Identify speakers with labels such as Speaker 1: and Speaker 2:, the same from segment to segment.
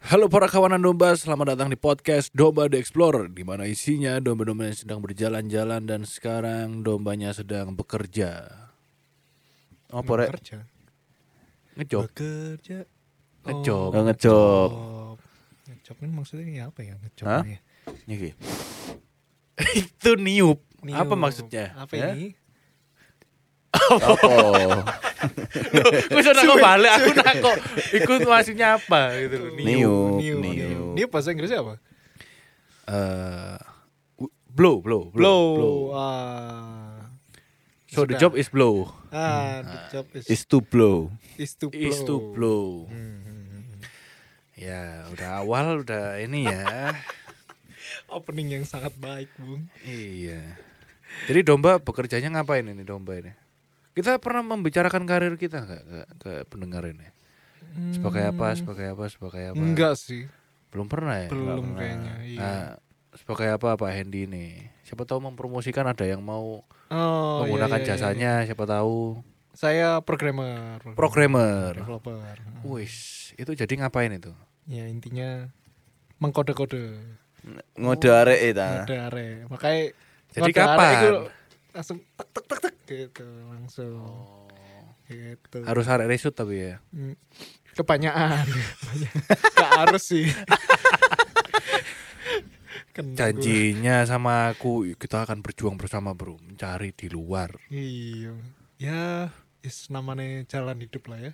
Speaker 1: Halo para kawanan domba, selamat datang di podcast Domba The Explorer di mana isinya domba-domba yang sedang berjalan-jalan dan sekarang dombanya sedang bekerja.
Speaker 2: Oh, porek.
Speaker 3: Bekerja.
Speaker 1: Ngejob,
Speaker 3: Bekerja.
Speaker 1: ngejob.
Speaker 2: Oh, ngejob.
Speaker 3: Oh, ngejob kan maksudnya ini apa ya ngejob
Speaker 2: Hah?
Speaker 3: ini?
Speaker 2: Niki.
Speaker 1: Itu niup.
Speaker 3: Ini
Speaker 1: Apa
Speaker 3: yuk,
Speaker 1: maksudnya?
Speaker 3: Apa
Speaker 1: Ya?
Speaker 3: ini?
Speaker 2: Apa?
Speaker 1: Gue sudah kok balik, aku nako. Ikut maksudnya apa gitu loh. Niup.
Speaker 2: Niup,
Speaker 3: Niup, niup.
Speaker 2: niup.
Speaker 3: Niup bahasa Inggrisnya apa?
Speaker 1: Eh, w- blow, blow,
Speaker 3: Blow.
Speaker 1: blow.
Speaker 3: Ah.
Speaker 1: So the
Speaker 3: Sudah.
Speaker 1: job is blow.
Speaker 3: Ah, the job is,
Speaker 2: Is to blow.
Speaker 3: is to blow.
Speaker 1: Hmm. Is to blow.
Speaker 3: Hmm, hmm, hmm.
Speaker 1: Ya, udah awal udah ini ya.
Speaker 3: Opening yang sangat baik, Bung.
Speaker 1: Iya. Jadi domba bekerjanya ngapain ini domba ini? Kita pernah membicarakan karir kita nggak ke, ke pendengar ini? Sebagai apa? Sebagai apa? Sebagai apa?
Speaker 3: Hmm. Enggak sih,
Speaker 1: Belum pernah ya.
Speaker 3: belum kayaknya. Iya.
Speaker 1: Nah, sebagai apa Pak Hendy ini? Siapa tahu mempromosikan ada yang mau
Speaker 3: oh, iya,
Speaker 1: menggunakan
Speaker 3: iya, iya.
Speaker 1: jasanya. Siapa tahu
Speaker 3: Saya programmer.
Speaker 1: programmer.
Speaker 3: Developer.
Speaker 1: Wis, itu jadi ngapain itu?
Speaker 3: Ya intinya mengkode-kode.
Speaker 2: Ngode arek e ta.
Speaker 3: Ada are. Makanya
Speaker 1: Jadi
Speaker 3: ngode arek
Speaker 1: kapan?
Speaker 3: itu langsung tek tek tek tek gitu langsung. Gitu.
Speaker 1: Harus arek resut tapi ya.
Speaker 3: Hmm. Kebanyakan. Gak harus sih. Kena gua.
Speaker 1: Janjinya sama aku kita akan berjuang bersama bro, mencari di luar.
Speaker 3: Iya. Ya, is namanya jalan hidup lah ya.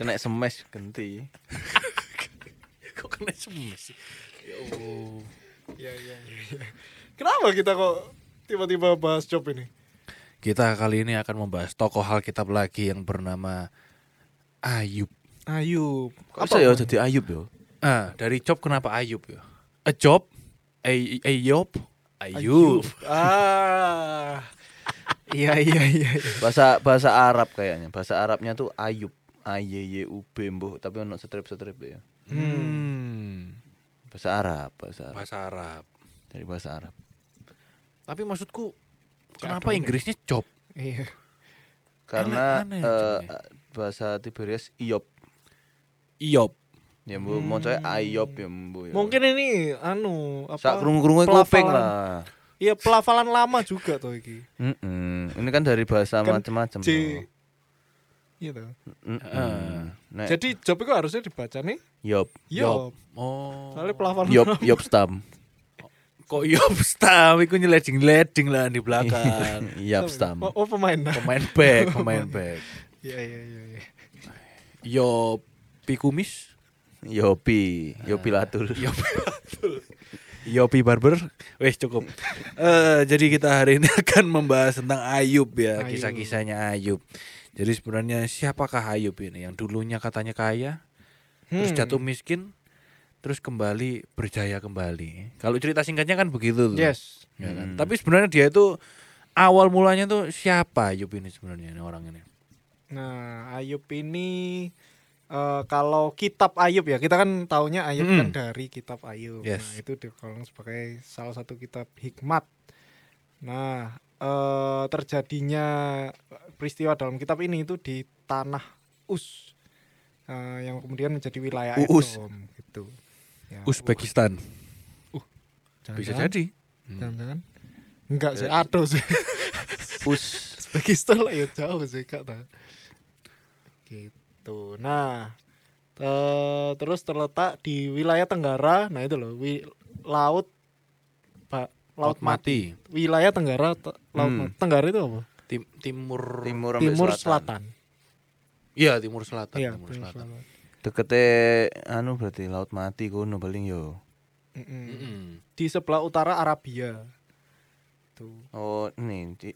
Speaker 2: Kena smash ganti.
Speaker 1: Kok kena semua sih?
Speaker 3: Iya, iya, iya. Kenapa kita kok tiba-tiba bahas job ini?
Speaker 1: Kita kali ini akan membahas tokoh Alkitab lagi yang bernama Ayub.
Speaker 3: Ayub.
Speaker 2: Apa ya jadi Ayub yo?
Speaker 1: Ah, dari Job kenapa Ayub ya? A Job, Ay- Ayub, Ayub.
Speaker 3: Ah. iya, iya, iya. iya.
Speaker 2: Bahasa bahasa Arab kayaknya. Bahasa Arabnya tuh Ayub. A Y Y U B mbuh, tapi ono strip-strip ya.
Speaker 1: Hmm.
Speaker 2: Bahasa Arab, bahasa Arab.
Speaker 1: Bahasa Arab.
Speaker 2: Dari bahasa Arab.
Speaker 1: Tapi maksudku kenapa Inggrisnya Job?
Speaker 3: Iya.
Speaker 2: Karena
Speaker 3: ya
Speaker 1: Aneh-aneh
Speaker 2: eh,
Speaker 1: jadinya.
Speaker 2: bahasa Tiberias Iyob.
Speaker 1: Iyob.
Speaker 2: Ya mbuh, maksudnya Ayob ya mbuh. ya.
Speaker 3: Hmm. Mungkin ini anu apa?
Speaker 2: sak krungu-krungu kuping
Speaker 3: pelafalan.
Speaker 2: lah.
Speaker 3: Iya, pelafalan lama juga tuh iki.
Speaker 2: Mm-mm. Ini kan dari bahasa
Speaker 3: Kan
Speaker 2: macam-macam.
Speaker 3: J
Speaker 2: loh.
Speaker 3: gitu. Ah.
Speaker 2: Mm-mm. Nek,
Speaker 3: Jadi job itu harusnya dibaca nih.
Speaker 2: Yob,
Speaker 3: Yo.
Speaker 1: Oh.
Speaker 3: Soalnya pelafalan.
Speaker 2: Yob, Yob Stam,
Speaker 1: Kok Iyob stam? Iku nyeleding-leding lah di belakang.
Speaker 2: Yob Stam.
Speaker 3: Oh, oh, pemain.
Speaker 1: pemain back, pemain back.
Speaker 3: Iya, iya, iya, iya.
Speaker 1: Iyob Pikumis.
Speaker 2: Yopi,
Speaker 3: Ah.
Speaker 2: Yopi Latul.
Speaker 1: Yopi Yopi Barber Wes cukup Eh, Jadi kita hari ini akan membahas tentang Ayub ya
Speaker 3: Ayub.
Speaker 1: Kisah-kisahnya Ayub Jadi sebenarnya siapakah Ayub ini Yang dulunya katanya kaya Terus
Speaker 3: Hmm.
Speaker 1: jatuh miskin Terus kembali berjaya kembali Kalau cerita singkatnya kan begitu tuh
Speaker 3: Yes.
Speaker 1: ya kan? Tapi sebenarnya dia itu Awal mulanya tuh siapa Ayub ini sebenarnya ini orang ini
Speaker 3: Nah, Ayub ini eh, kalau kitab Ayub ya, kita kan taunya Ayub
Speaker 1: Mm-mm.
Speaker 3: kan dari kitab
Speaker 1: Hmm.
Speaker 3: Ayub.
Speaker 1: Yes.
Speaker 3: Nah, itu dikolong sebagai salah satu kitab hikmat. Nah, eh, terjadinya peristiwa dalam kitab ini itu di tanah Us. eh, yang kemudian menjadi wilayah
Speaker 2: Uus.
Speaker 3: Edom gitu. Ya,
Speaker 1: Uzbekistan
Speaker 3: jangan-jangan-
Speaker 1: Bisa jadi Hmm. Eh.
Speaker 3: Jangan-jangan. Enggak sih, aduh sih.
Speaker 2: Us.
Speaker 3: Uzbekistan lah ya jauh sih kak nah. gitu nah te- terus terletak di wilayah tenggara nah itu loh wi- laut Ba- laut mati. wilayah tenggara te- laut
Speaker 2: Hmm.
Speaker 3: mati. tenggara itu apa
Speaker 1: Tim- Timur
Speaker 2: Timur, ambil
Speaker 3: timur selatan
Speaker 1: Iya timur selatan
Speaker 3: Iya,
Speaker 1: Timur selatan
Speaker 2: Dekete anu berarti laut mati kono paling yo.
Speaker 3: Mm-mm.
Speaker 1: Mm-mm.
Speaker 3: di sebelah utara Arabia tuh
Speaker 2: Oh, ini di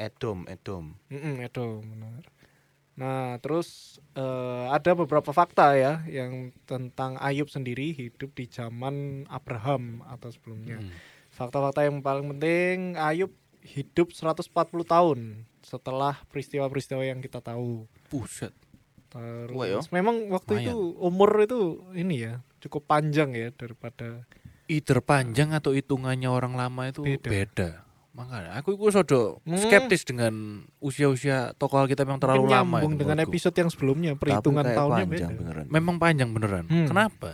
Speaker 2: Edom, Edom.
Speaker 3: Mm-mm, Edo, benar. Nah, terus eh, ada beberapa fakta ya yang tentang Ayub sendiri hidup di zaman Abraham atau sebelumnya.
Speaker 1: Hmm.
Speaker 3: Fakta-fakta yang paling penting Ayub hidup 140 tahun setelah peristiwa-peristiwa yang kita tahu.
Speaker 1: Buset.
Speaker 3: Terus
Speaker 2: Wah, yo.
Speaker 3: memang waktu itu umur itu ini ya cukup panjang ya daripada
Speaker 1: I terpanjang atau hitungannya orang lama itu beda.
Speaker 3: Beda.
Speaker 1: Makanya aku itu sodo
Speaker 3: Hmm.
Speaker 1: skeptis dengan usia-usia tokoh Alkitab yang terlalu
Speaker 3: Mungkin
Speaker 1: lama
Speaker 3: nyambung
Speaker 1: itu
Speaker 3: dengan
Speaker 1: menurutku.
Speaker 3: episode yang sebelumnya perhitungan
Speaker 2: kayak
Speaker 3: tahunnya
Speaker 2: panjang
Speaker 3: beda.
Speaker 2: beneran.
Speaker 1: Memang panjang beneran.
Speaker 3: Hmm.
Speaker 1: Kenapa?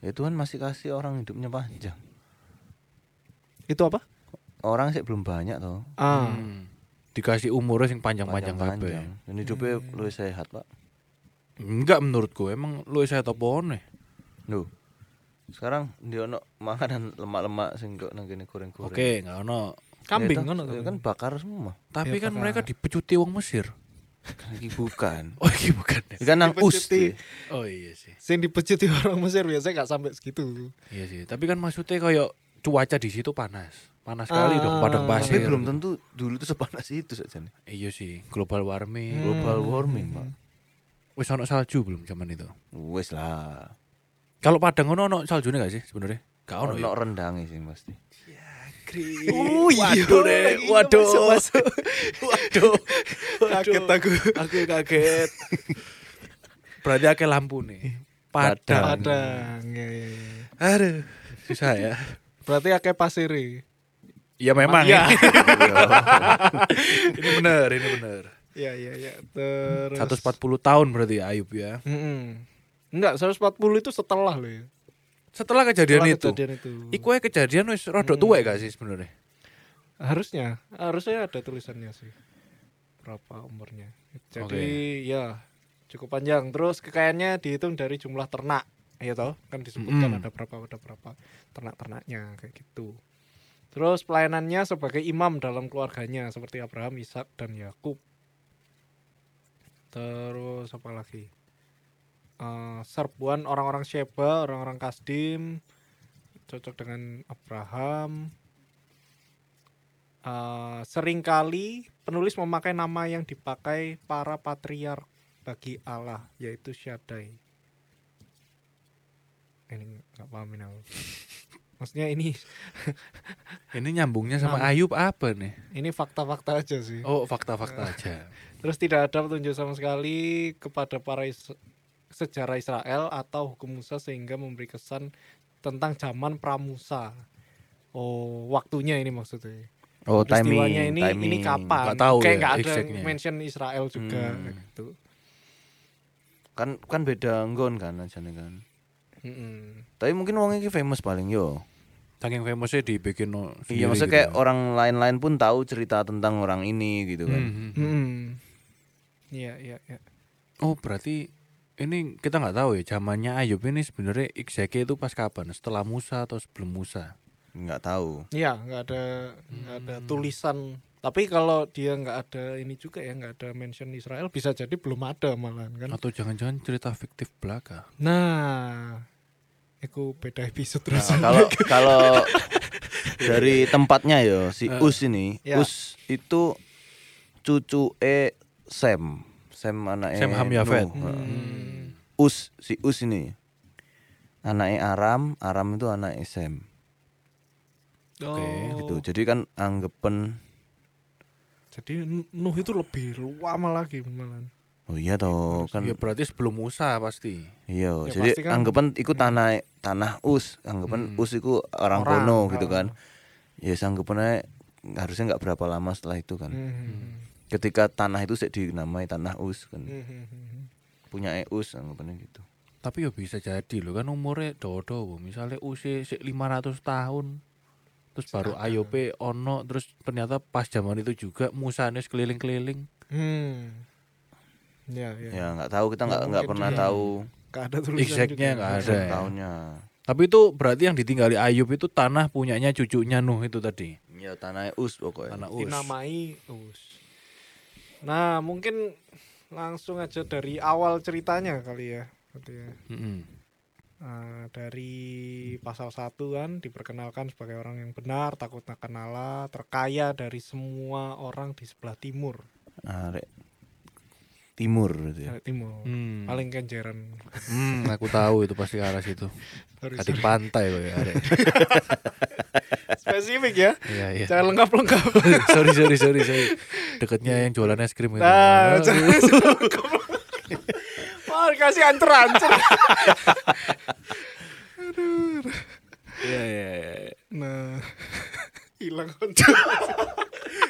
Speaker 2: Ya Tuhan masih kasih orang hidupnya panjang.
Speaker 3: Itu apa?
Speaker 2: Orang sih belum banyak toh.
Speaker 3: Ah,
Speaker 1: Hmm. Dikasih umurnya sing panjang-panjang kabeh.
Speaker 2: Dan hidupnya
Speaker 3: Hmm.
Speaker 2: lu sehat, Pak.
Speaker 1: Enggak menurutku, emang lu saya topone.
Speaker 2: Loh. Sekarang dia ono makanan lemak-lemak sing kok nang kene goreng-goreng.
Speaker 1: Oke, enggak ono.
Speaker 3: kambing
Speaker 2: Ya toh,
Speaker 3: kan?
Speaker 2: ya kan bakar semua.
Speaker 1: Tapi
Speaker 3: Ya,
Speaker 1: kan
Speaker 3: Pak.
Speaker 1: mereka dipecuti wong Mesir.
Speaker 2: Iki bukan.
Speaker 1: Oh, iya bukan. ya?
Speaker 2: Iki kan nang us.
Speaker 3: Dipecuti.
Speaker 2: deh.
Speaker 1: Oh iya sih.
Speaker 3: Sing dipecuti orang Mesir biasanya nggak sampai segitu.
Speaker 1: Iya sih. Tapi kan maksudnya kayak cuaca di situ panas. Panas sekali dong
Speaker 3: Ah.
Speaker 1: padang
Speaker 2: Tapi
Speaker 1: pasir.
Speaker 2: belum tentu dulu tuh sepanas itu saja nih.
Speaker 1: Iya sih, global warming.
Speaker 2: Global
Speaker 3: Hmm.
Speaker 2: warming, Pak.
Speaker 1: Wis ono salju belum zaman itu?
Speaker 2: Wes lah.
Speaker 1: Kalau Padang ono ono saljune gak sih sebenarnya? Gak ono.
Speaker 2: Ono
Speaker 1: ya?
Speaker 2: rendangnya sih pasti.
Speaker 3: Oh iya,
Speaker 1: Waduh, Dek. waduh. Waduh.
Speaker 3: Kaget aku.
Speaker 1: Aku kaget. Berarti akeh lampu nih. Padang.
Speaker 3: Ada. ya, ya, ya.
Speaker 1: Aduh, susah ya.
Speaker 3: Berarti akeh pasir. e?
Speaker 1: Ya memang
Speaker 3: Iya.
Speaker 1: ini. ini bener, ini bener.
Speaker 3: Iya iya iya. Terus
Speaker 1: 140 tahun berarti ya, Ayub ya.
Speaker 3: Mm-mm. Enggak, 140 itu setelah loh ya.
Speaker 1: Setelah kejadian Hmm.
Speaker 3: Setelah
Speaker 1: itu.
Speaker 3: kejadian itu.
Speaker 1: Iku ae kejadian wis rodok tuwek gak sih sebenarnya?
Speaker 3: Harusnya, harusnya ada tulisannya sih. Berapa umurnya. Jadi ya cukup panjang. Terus kekayaannya dihitung dari jumlah ternak. Ya toh, kan disebutkan
Speaker 1: Mm-mm.
Speaker 3: ada berapa ada berapa ternak-ternaknya kayak gitu. Terus pelayanannya sebagai imam dalam keluarganya seperti Abraham, Ishak dan Yakub. Terus apa lagi? Eh, serbuan orang-orang Sheba, orang-orang Kasdim cocok dengan Abraham. Eh, seringkali penulis memakai nama yang dipakai para patriark bagi Allah yaitu Shaddai. Ini nggak paham ini aku. Maksudnya ini
Speaker 1: Ini nyambungnya sama
Speaker 3: Nah.
Speaker 1: Ayub apa nih?
Speaker 3: ini fakta-fakta aja sih.
Speaker 1: Oh, fakta-fakta aja.
Speaker 3: Terus tidak ada petunjuk sama sekali kepada para Is- sejarah Israel atau hukum Musa sehingga memberi kesan tentang zaman pramusa. Oh, waktunya ini maksudnya.
Speaker 2: Oh,
Speaker 3: Peristiwanya ini ini kapan?
Speaker 1: Nggak tahu
Speaker 3: Kayak
Speaker 1: ya,
Speaker 3: nggak ada
Speaker 1: exactnya.
Speaker 3: mention Israel juga
Speaker 2: Hmm.
Speaker 3: kayak gitu.
Speaker 2: Kan kan beda nggon kan ajane kan.
Speaker 3: Mm-mm.
Speaker 2: Tapi mungkin wong iki famous paling yo.
Speaker 1: Saking famousnya dibikin no- sendiri
Speaker 2: Iya, maksudnya
Speaker 1: gitu
Speaker 2: kayak
Speaker 1: ya.
Speaker 2: orang lain-lain pun tahu cerita tentang orang ini gitu kan.
Speaker 1: Hmm, hmm.
Speaker 3: Mm-mm. Iya, iya, iya.
Speaker 1: Oh berarti ini kita nggak tahu ya zamannya Ayub ini sebenarnya exactnya itu pas kapan? Setelah Musa atau sebelum Musa?
Speaker 2: Nggak tahu.
Speaker 3: Iya, nggak ada nggak ada
Speaker 1: Hmm.
Speaker 3: tulisan. Tapi kalau dia nggak ada ini juga ya, nggak ada mention Israel, bisa jadi belum ada malahan kan.
Speaker 1: Atau jangan-jangan cerita fiktif belaka?
Speaker 3: Nah, itu beda episode
Speaker 2: Nah,
Speaker 3: terus.
Speaker 2: kalau kalau dari tempatnya yo si Us ini,
Speaker 3: Ya.
Speaker 2: Us itu cucu E Sam, Sam anaknya
Speaker 1: Sem Ham
Speaker 2: Nuh.
Speaker 1: Yafet.
Speaker 2: Heeh.
Speaker 3: Hmm.
Speaker 2: Us si Us ini anaknya Aram, Aram itu anaknya Sam.
Speaker 1: Oke,
Speaker 3: Oh,
Speaker 2: Gitu. Jadi kan anggepen
Speaker 3: Jadi Nuh itu lebih lama lagi malahan.
Speaker 2: Oh iya toh kan
Speaker 1: Ya berarti sebelum Musa pasti.
Speaker 2: iya
Speaker 3: Ya,
Speaker 2: jadi
Speaker 3: pasti kan. Hmm.
Speaker 2: anggapan ikut tanah tanah us anggapan us itu orang,
Speaker 3: Orang,
Speaker 2: kono
Speaker 3: oh.
Speaker 2: gitu kan ya anggapan aja harusnya nggak berapa lama setelah itu kan
Speaker 3: Hmm.
Speaker 2: ketika tanah itu sih dinamai tanah us kan
Speaker 3: Hmm.
Speaker 2: punya e us anggapannya gitu
Speaker 1: Tapi ya bisa jadi loh kan umurnya dodo Bu. misalnya usia sik 500 tahun terus baru Ayub ono terus ternyata pas zaman itu juga Musa ini keliling-keliling.
Speaker 3: Hmm. Ya, ya.
Speaker 2: ya nggak tahu kita nggak
Speaker 3: Ya,
Speaker 2: nggak
Speaker 3: mungkin
Speaker 2: pernah
Speaker 3: juga.
Speaker 2: tahu
Speaker 3: Nggak ada tulisan
Speaker 1: Exactnya
Speaker 3: juga.
Speaker 1: nggak ada.
Speaker 2: tahunnya
Speaker 1: ya. Tapi itu berarti yang ditinggali Ayub itu tanah punyanya cucunya Nuh itu tadi.
Speaker 2: ya tanah us pokoknya
Speaker 1: Tanah Us.
Speaker 3: Dinamai Us. Nah, mungkin langsung aja dari awal ceritanya kali ya. Gitu ya.
Speaker 1: Mm-mm.
Speaker 3: Eh, dari pasal 1 kan diperkenalkan sebagai orang yang benar, takut akan Allah, terkaya dari semua orang di sebelah timur.
Speaker 2: Nah, Arek timur gitu ya
Speaker 3: Eh, Timur.
Speaker 1: Hmm.
Speaker 3: Paling kenjeran.
Speaker 1: Hmm, aku tahu itu pasti ke arah situ.
Speaker 3: Sorry,
Speaker 1: Tadi
Speaker 3: sorry.
Speaker 1: pantai loh ya. Arek.
Speaker 3: Spesifik ya.
Speaker 1: Iya iya.
Speaker 3: Jangan lengkap-lengkap.
Speaker 1: sorry sorry sorry sorry. Dekatnya yang jualan es krim itu.
Speaker 3: Nah,
Speaker 1: Aduh.
Speaker 3: Wah, kasih Oh, ancer-ancer.
Speaker 1: Iya iya. iya.
Speaker 3: Nah, hilang kontrol.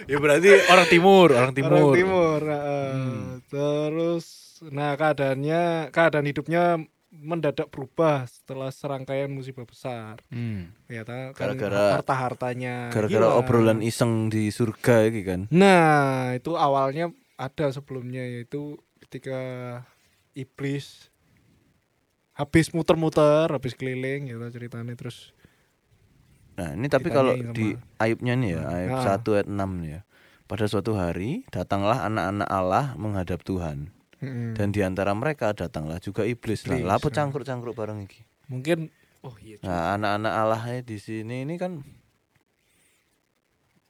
Speaker 1: ya berarti orang timur, orang timur.
Speaker 3: Orang timur. heeh. Terus nah keadaannya keadaan hidupnya mendadak berubah setelah serangkaian musibah besar.
Speaker 1: Hmm.
Speaker 3: Ya ta- kan
Speaker 2: Gara-gara-
Speaker 3: harta-hartanya
Speaker 2: Gara-gara
Speaker 3: hilang.
Speaker 2: obrolan iseng di surga iki kan.
Speaker 3: Nah, itu awalnya ada sebelumnya yaitu ketika iblis habis muter-muter, habis keliling gitu ceritanya terus
Speaker 2: Nah, ini tapi
Speaker 3: Ditanyain
Speaker 2: kalau
Speaker 3: sama-
Speaker 2: di ayubnya nih ya, ayub
Speaker 3: Ah.
Speaker 2: 1 ayat 6 nih ya. Pada suatu hari datanglah anak-anak Allah menghadap Tuhan
Speaker 3: Mm-mm.
Speaker 2: dan di antara mereka datanglah juga iblis.
Speaker 3: Hmm.
Speaker 2: Lah,
Speaker 3: Iblis,
Speaker 2: lah apa
Speaker 3: ah.
Speaker 2: cangkruk-cangkruk bareng iki?
Speaker 3: mungkin oh iya juga.
Speaker 2: Nah, anak-anak Allahnya di sini ini kan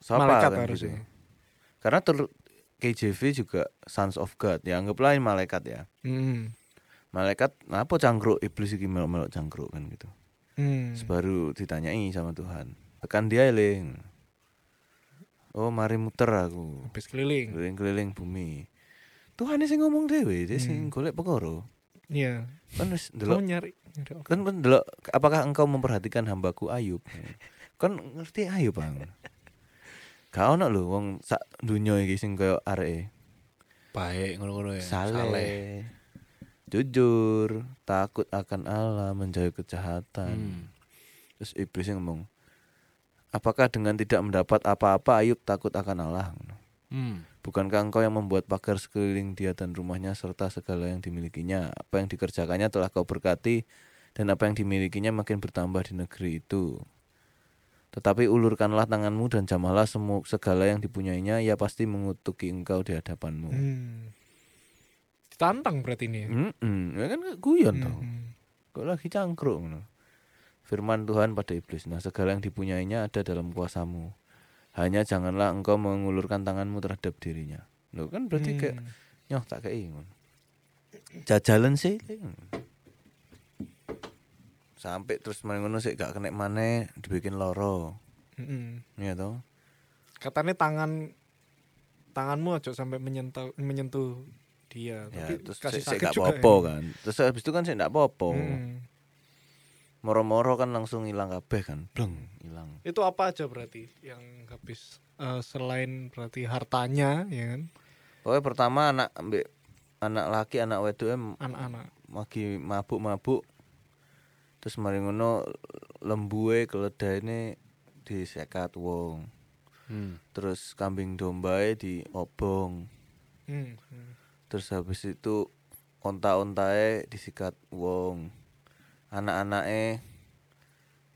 Speaker 2: siapa
Speaker 3: malaikat
Speaker 2: kan gitu.
Speaker 3: harusnya.
Speaker 2: Karena ter- KJV juga Sons of God, ya anggap lain malaikat ya.
Speaker 3: Mm-mm.
Speaker 2: Malaikat apa cangkruk iblis iki melok-melok cangkruk kan gitu.
Speaker 3: Mm.
Speaker 2: Sebaru ditanyai sama Tuhan. Tekan dia eling. Oh, mari muter aku.
Speaker 3: Habis keliling.
Speaker 2: Keliling-keliling bumi. Tuhan sing ngomong dhewe, dia sing golek perkara.
Speaker 3: Iya.
Speaker 2: Kan wis
Speaker 3: Kamu
Speaker 2: ndelok
Speaker 3: nyari. nyari apa?
Speaker 2: kan kan delok apakah engkau memperhatikan hambaku Ayub kan ngerti Ayub bang gak ono lho wong sak dunya iki sing kaya areke
Speaker 1: Baik ngono-ngono ya.
Speaker 2: Iya, saleh jujur takut akan Allah menjauhi
Speaker 1: Hmm.
Speaker 2: kejahatan terus iblis yang ngomong apakah dengan tidak mendapat apa-apa Ayub takut akan Allah
Speaker 1: Hmm.
Speaker 2: Bukankah engkau yang membuat pagar sekeliling dia dan rumahnya serta segala yang dimilikinya? Apa yang dikerjakannya telah kau berkati dan apa yang dimilikinya makin bertambah di negeri itu. Tetapi ulurkanlah tanganmu dan jamahlah semua segala yang dipunyainya, ia pasti mengutuki engkau di hadapanmu.
Speaker 3: Hmm. Ditantang berarti ini. ya?
Speaker 2: Mm-mm. Ya kan guyon
Speaker 3: Mm-mm.
Speaker 2: tau. Kok lagi cangkruk ngono. Firman Tuhan pada iblis, nah segala yang dipunyainya ada dalam kuasamu. Hanya janganlah engkau mengulurkan tanganmu terhadap dirinya. Loh kan berarti kayak
Speaker 3: Hmm.
Speaker 2: nyoh tak kei ngono. Jajalan sih. kei. Sampai terus main ngono sih gak kena maneh dibikin loro.
Speaker 3: Mm-mm.
Speaker 2: Iya toh?
Speaker 3: Hmm. Katanya tangan tanganmu aja sampai menyentuh menyentuh dia.
Speaker 2: Ya
Speaker 3: Tapi
Speaker 2: terus
Speaker 3: kasih
Speaker 2: sik sik
Speaker 3: sakit
Speaker 2: gak
Speaker 3: juga Hmm.
Speaker 2: apa-apa
Speaker 3: ya. Mm.
Speaker 2: kan. Terus habis itu kan sik gak apa-apa.
Speaker 3: Mm-mm.
Speaker 2: Moro-moro kan langsung hilang kabeh kan. Bleng, hilang.
Speaker 3: Itu apa aja berarti yang habis Eh, selain berarti hartanya ya kan
Speaker 2: Pokoknya pertama anak ambek anak laki anak wedoke m-
Speaker 3: anak-anak.
Speaker 2: lagi mabuk-mabuk. Terus mari ngono lembue keledai disekat wong.
Speaker 1: Hmm.
Speaker 2: Terus kambing dombae diobong.
Speaker 3: Hmm. Hmm.
Speaker 2: terus habis itu onta-ontae disikat wong anak-anaknya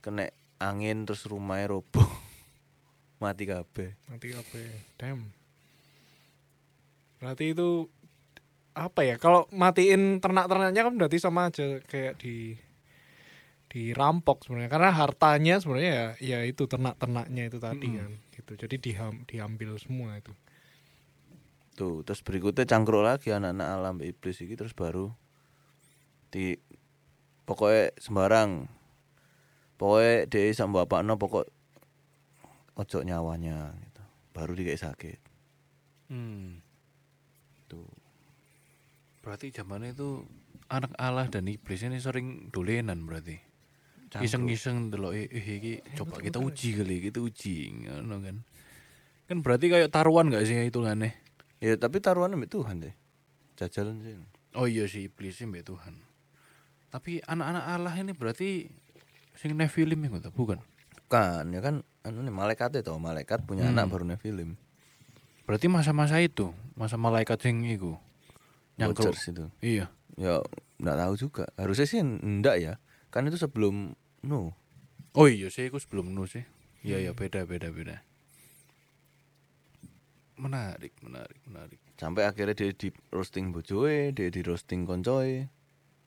Speaker 2: kena angin terus rumahnya roboh mati kabeh
Speaker 3: Nanti apa? ya? Damn. Berarti itu apa ya? Kalau matiin ternak-ternaknya kan berarti sama aja kayak di dirampok sebenarnya karena hartanya sebenarnya ya, ya itu ternak-ternaknya itu tadi kan gitu. Jadi diham, diambil semua itu.
Speaker 2: tuh terus berikutnya cangkruk lagi anak-anak alam mbak iblis iki terus baru di pokoknya sembarang pokoknya dia sama bapak no pokok ojo nyawanya gitu baru dia sakit
Speaker 1: Hmm.
Speaker 2: tuh
Speaker 1: Berarti zamannya itu anak Allah dan iblis ini sering dolenan berarti. Iseng-iseng delok eh eh, iki coba kita uji kali, kita uji ngono kan. Kan berarti kayak taruhan gak sih hitungannya?
Speaker 2: ya tapi taruhan mbak Tuhan deh jajalan sih
Speaker 1: Oh iya sih iblis sih mbak Tuhan. Tapi anak-anak Allah ini berarti sing nefilim ya nggak tahu, bukan?
Speaker 2: Bukan, ya kan anu nih malaikat itu, malaikat punya anak baru film.
Speaker 1: Berarti masa-masa itu, masa malaikat sing iku. Nyangkruk.
Speaker 2: Watchers itu.
Speaker 1: Iya.
Speaker 2: Ya enggak tahu juga. Harusnya sih enggak ya. Kan itu sebelum no.
Speaker 1: Oh iya sih, aku sebelum nu sih. Iya iya beda beda beda. Menarik menarik menarik.
Speaker 2: Sampai akhirnya dia di roasting bojoe, dia di roasting koncoe.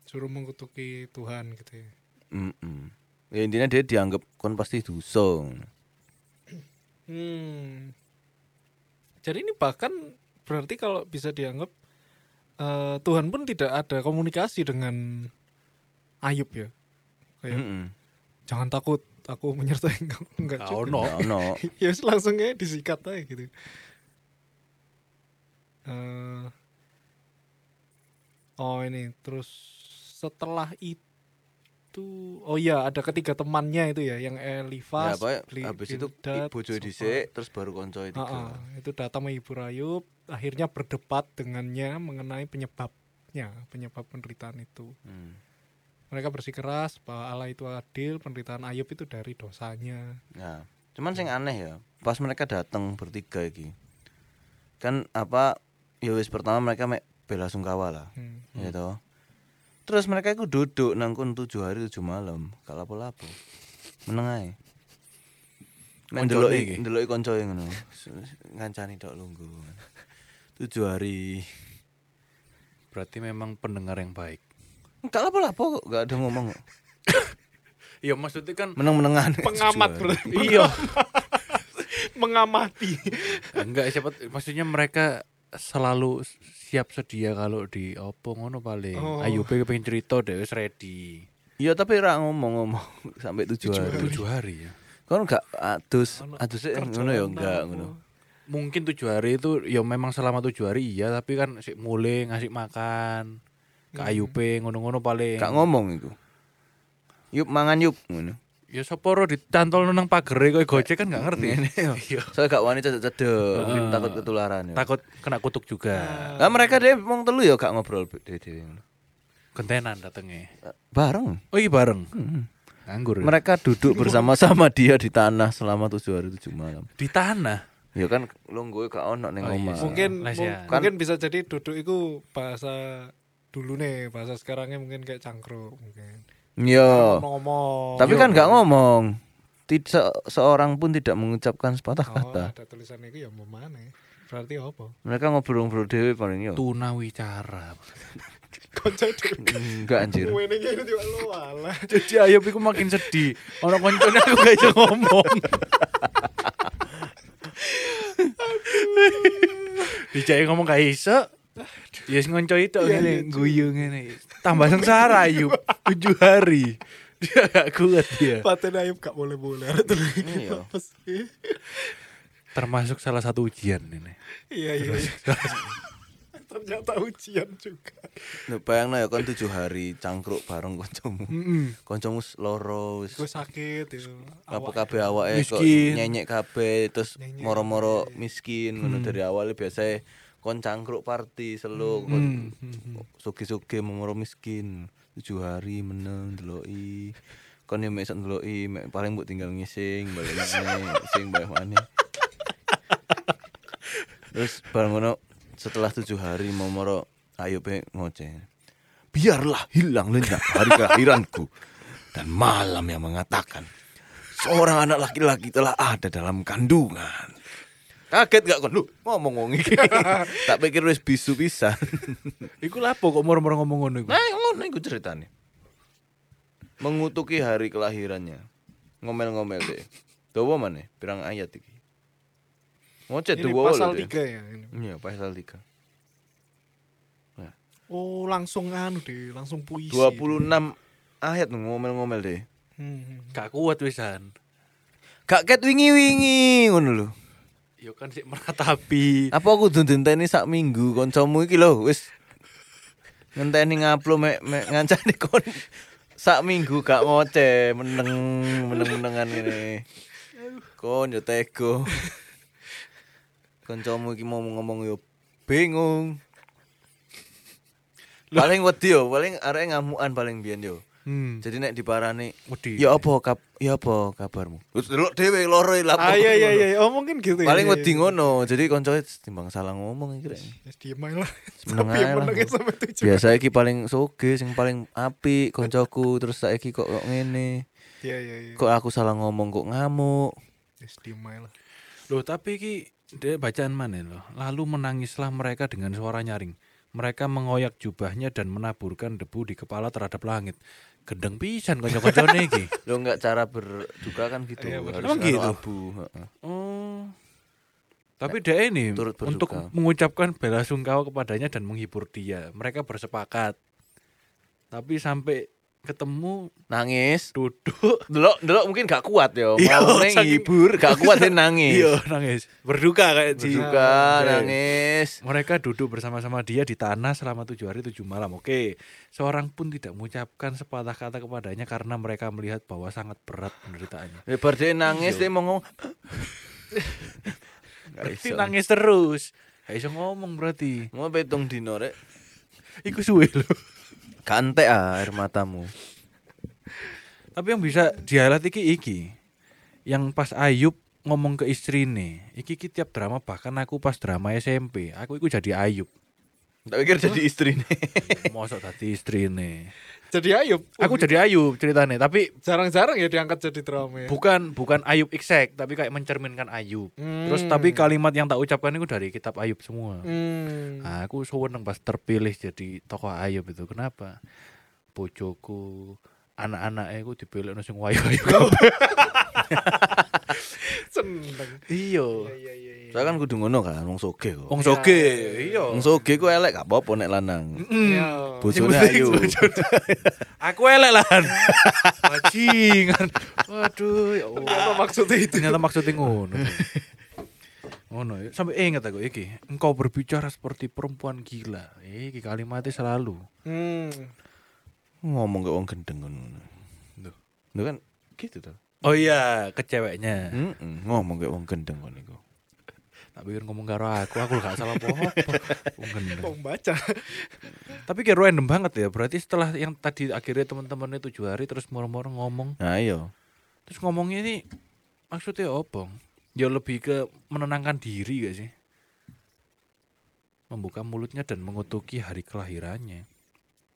Speaker 3: Suruh mengutuki Tuhan gitu ya.
Speaker 2: Mm-mm. Ya intinya dia dianggap kon pasti dosa.
Speaker 3: Hmm. Jadi ini bahkan berarti kalau bisa dianggap eh, Tuhan pun tidak ada komunikasi dengan Ayub ya. Kayak
Speaker 2: Heeh.
Speaker 3: jangan takut aku menyertai engkau enggak
Speaker 1: Gak
Speaker 3: juga
Speaker 1: ono.
Speaker 2: no.
Speaker 3: ya wis langsung kayak disikat aja gitu Eh, oh ini terus setelah itu itu oh iya ada ketiga temannya itu ya yang Elifas,
Speaker 2: ya pokoknya
Speaker 3: Bli-
Speaker 2: habis itu
Speaker 3: Bildad,
Speaker 2: bojo
Speaker 3: sama-
Speaker 2: dhisik terus baru koncoe
Speaker 3: Ah, ah,
Speaker 2: tiga.
Speaker 3: itu datang Ibu Rayub akhirnya berdebat dengannya mengenai penyebabnya penyebab penderitaan itu
Speaker 2: Hmm.
Speaker 3: mereka bersikeras bahwa Allah itu adil penderitaan Ayub itu dari dosanya
Speaker 2: Nah, cuman sing aneh ya, pas mereka datang bertiga iki. Kan apa ya wis pertama mereka mek bela sungkawa lah,
Speaker 3: Hmm.
Speaker 2: ya toh. Terus mereka iku duduk nangkun tujuh hari tujuh malam, gak lapo-lapo. Meneng ae.
Speaker 1: Koncone
Speaker 2: Mek ndeloki
Speaker 1: iki?
Speaker 2: ndeloki kanca ngono. Ngancani tok lungguh. Tujuh hari.
Speaker 1: Berarti memang pendengar yang baik.
Speaker 2: Gak lapo-lapo kok, gak ada ngomong. kok.
Speaker 1: Iya maksudnya kan
Speaker 2: Meneng-menengan.
Speaker 3: pengamat
Speaker 2: Tujuh hari.
Speaker 3: berarti
Speaker 1: iya
Speaker 3: mengamati
Speaker 1: enggak siapa maksudnya mereka selalu siap sedia kalau di opo ngono paling.
Speaker 3: Oh.
Speaker 1: Ayube pengen cerita deh wis ready.
Speaker 2: Iya tapi ra ngomong-ngomong sampai tujuh hari.
Speaker 1: Tujuh hari ya.
Speaker 2: Kan gak adus, adus ngono ya
Speaker 3: Kerjaan
Speaker 2: enggak
Speaker 3: apa.
Speaker 2: ngono.
Speaker 1: Mungkin tujuh hari itu ya memang selama tujuh hari iya tapi kan sik mulai ngasih makan ke Ayube ngono-ngono paling.
Speaker 2: Gak ngomong iku. Yup mangan yup ngono.
Speaker 1: ya sapa ro ditantol nang pagere kowe gojek kan gak ngerti. Iya.
Speaker 2: Soalnya gak wani cedek-cedek, mungkin takut ketularan ya.
Speaker 1: Takut kena kutuk juga.
Speaker 2: Lah mereka deh wong telu ya gak ngobrol dhewe-dhewe ngono.
Speaker 1: Kentenan datengnya.
Speaker 2: Bareng.
Speaker 1: Oh iya bareng. Nganggur. ya?
Speaker 2: Mereka duduk bersama-sama dia di tanah selama tujuh hari tujuh malam.
Speaker 1: di tanah.
Speaker 2: Ya kan lu gue gak ono ning
Speaker 1: Oh iya
Speaker 2: omah.
Speaker 1: sih.
Speaker 3: mungkin
Speaker 1: Les
Speaker 3: mung-
Speaker 1: ya.
Speaker 3: mungkin
Speaker 2: Kan-
Speaker 3: bisa jadi duduk itu bahasa dulu nih bahasa sekarangnya mungkin kayak cangkruk mungkin
Speaker 2: Yo.
Speaker 3: ngomong
Speaker 2: Iya. Tapi kan gak ngomong. Tidak seorang pun tidak mengucapkan sepatah
Speaker 3: oh,
Speaker 2: kata.
Speaker 3: ada tulisan itu ya mau mana berarti apa
Speaker 2: Mereka ngobrol-ngobrol dhewe paling yo.
Speaker 1: Tunawicara.
Speaker 3: konco dhewe.
Speaker 2: Enggak anjir.
Speaker 3: Wene iki juga lo alah.
Speaker 1: Jadi Ayub iku makin sedih. Ono koncone aku gak iso ngomong. Dijake ngomong gak iso. Ya wis ngonco itu ngene, guyu ngene. Tambah sengsara Ayub. 7 hari. Dia gak kuat dia.
Speaker 3: Paten Ayub gak boleh-boleh
Speaker 2: Iya.
Speaker 3: Apa sih?
Speaker 1: Termasuk salah satu ujian ini.
Speaker 3: Iya iya. iya. Ternyata ujian juga.
Speaker 2: Nah, bayangno ya kon tujuh hari cangkruk bareng kancamu.
Speaker 1: Mm-mm.
Speaker 2: Kancamu s- loro wis
Speaker 3: Gue sakit ya.
Speaker 2: apa
Speaker 3: Awak-
Speaker 2: kabeh awake kok
Speaker 1: Miskin.
Speaker 2: nyenyek kabeh terus
Speaker 3: Nyenyek
Speaker 2: moro-moro miskin ngono dari awal biasa kon cangkruk party selo kon sugi-sugi moro miskin tujuh hari meneng deloki kon yo mek iso ndeloki mek paling mbok tinggal ngising balik maneh sing balik maneh terus bareng ngono setelah tujuh hari moro ayo pe ngoceh biarlah hilang lenyap hari kelahiranku dan malam yang mengatakan seorang anak laki-laki telah ada dalam kandungan kaget gak kon lu ngomong ngomong iki tak pikir wis bisu pisan
Speaker 1: Iku lapo kok moro-moro ngomong ngono iku?
Speaker 2: nah ngono iku ceritane mengutuki hari kelahirannya ngomel-ngomel deh dawa maneh pirang ayat iki ngocet
Speaker 3: Ini
Speaker 2: dawa
Speaker 3: pasal
Speaker 2: lho deh.
Speaker 3: 3 ya. ini.
Speaker 2: iya pasal 3
Speaker 3: Oh langsung anu deh, langsung puisi.
Speaker 2: 26 ayat ngomel-ngomel deh
Speaker 3: Hmm.
Speaker 1: Gak kuat wisan.
Speaker 2: gak ket wingi-wingi ngono lho
Speaker 1: Yo kan sik meratapi.
Speaker 2: Apa aku dundenteni sak minggu kancamu iki lho wis ngenteni ngaplo mek mek ngancani kon sak minggu gak ngoce meneng meneng-menengan ngene. Kon yo tego. Kancamu iki mau ngomong yo bingung. Paling wedi yo, paling arek ngamukan paling biyen yo.
Speaker 1: Hmm.
Speaker 2: Jadi nek diparani
Speaker 1: Wedi.
Speaker 2: Ya apa kap ya apa kabarmu? Terus delok dhewe loro lapor.
Speaker 3: Ah iya iya iya, oh mungkin gitu ya.
Speaker 2: Paling
Speaker 3: iya,
Speaker 2: wedi
Speaker 3: iya.
Speaker 2: ngono. Jadi koncoe timbang salah ngomong iki rek.
Speaker 3: Ya, Diem aja lah.
Speaker 2: Seneng
Speaker 3: Tapi yang
Speaker 2: aja lah.
Speaker 3: menangnya sampai tujuh.
Speaker 2: Biasa iki paling soge sing paling apik koncoku terus saiki kok kok ngene.
Speaker 3: Iya iya iya.
Speaker 2: Kok aku salah ngomong kok ngamuk.
Speaker 3: Ya, Diem aja lah.
Speaker 1: Loh tapi ki dia bacaan mana loh. Lalu menangislah mereka dengan suara nyaring. Mereka mengoyak jubahnya dan menaburkan debu di kepala terhadap langit. Gendeng pisan kanca-kancane iki.
Speaker 2: Lo enggak cara berduka kan gitu.
Speaker 3: Iya, bener.
Speaker 2: harus
Speaker 1: Emang
Speaker 2: karo
Speaker 1: gitu?
Speaker 2: abu, heeh.
Speaker 1: Oh. Tapi dia ini
Speaker 2: Turut berduka.
Speaker 1: untuk mengucapkan bela sungkawa kepadanya dan menghibur dia. Mereka bersepakat. Tapi sampai ketemu
Speaker 2: Nangis.
Speaker 1: duduk
Speaker 2: Delok delok mungkin gak kuat yo.
Speaker 1: Iya,
Speaker 2: Mau neng
Speaker 1: saking-
Speaker 2: hibur gak kuat dia nangis.
Speaker 1: iya nangis berduka kayak Ji. Oke.
Speaker 2: Juga nangis.
Speaker 1: Mereka duduk bersama-sama dia di tanah selama tujuh hari tujuh malam. Oke, seorang pun tidak mengucapkan sepatah kata kepadanya karena mereka melihat bahwa sangat berat penderitaannya.
Speaker 2: Lebar dia
Speaker 1: Iya.
Speaker 2: nangis dia mau ngomong. Gak
Speaker 1: Berarti
Speaker 2: iso.
Speaker 1: nangis terus. Gak iso ngomong berarti.
Speaker 2: Mau petung dino rek.
Speaker 1: Iku suwe lho.
Speaker 2: Kantek ah air matamu.
Speaker 1: Tapi yang bisa di-highlight iki iki. Yang pas Ayub ngomong ke istri nih, iki, iki tiap drama bahkan aku pas drama SMP, aku iku jadi Ayub.
Speaker 2: Tak pikir jadi istri nih.
Speaker 1: Mosok tadi istri nih.
Speaker 3: jadi Ayub
Speaker 2: Oh,
Speaker 1: Aku
Speaker 2: gitu.
Speaker 1: jadi Ayub ceritanya, tapi
Speaker 3: jarang-jarang ya diangkat jadi drama ya
Speaker 1: bukan bukan Ayub exact, tapi kayak mencerminkan Ayub. Terus tapi kalimat yang tak ucapkan itu dari kitab Ayub semua.
Speaker 3: Hmm.
Speaker 1: Nah, aku seneng pas terpilih jadi tokoh Ayub itu. Kenapa? Bojoku, anak-anaknya aku dipilih no sing wayu-wayu.
Speaker 3: Oh.
Speaker 1: kabeh.
Speaker 3: seneng
Speaker 1: Iya.
Speaker 3: iya iya iya
Speaker 2: Saya kan kudu ngono kan wong soge kok.
Speaker 1: Wong soge, iya. Hmm.
Speaker 2: Wong soge ku elek gak apa-apa nek lanang.
Speaker 3: Iya.
Speaker 2: Bojone ayu.
Speaker 1: Aku elek lah. Bajingan. Waduh, ya
Speaker 3: apa
Speaker 1: Allah.
Speaker 3: maksudnya itu
Speaker 1: Ternyata maksudnya ngono. Ngono ya. Sampai ingat aku iki, engkau berbicara seperti perempuan gila. Iki kalimatnya selalu.
Speaker 3: hmm.
Speaker 2: Ngomong ke wong gendeng ngono.
Speaker 1: Duh.
Speaker 2: Lho kan gitu tuh.
Speaker 1: Oh iya, ke ceweknya.
Speaker 2: ngomong ke wong gendeng ngono iku.
Speaker 1: Tak pikir ngomong karo aku, aku gak salah apa-apa. Wong gendeng.
Speaker 3: pembaca
Speaker 1: Tapi kayak random banget ya. Berarti setelah yang tadi akhirnya teman-temannya tujuh hari terus moro-moro ngomong,
Speaker 2: Nah, iya.
Speaker 1: terus ngomongnya ini maksudnya apa? Ya lebih ke menenangkan diri gak sih? Membuka mulutnya dan mengutuki hari kelahirannya.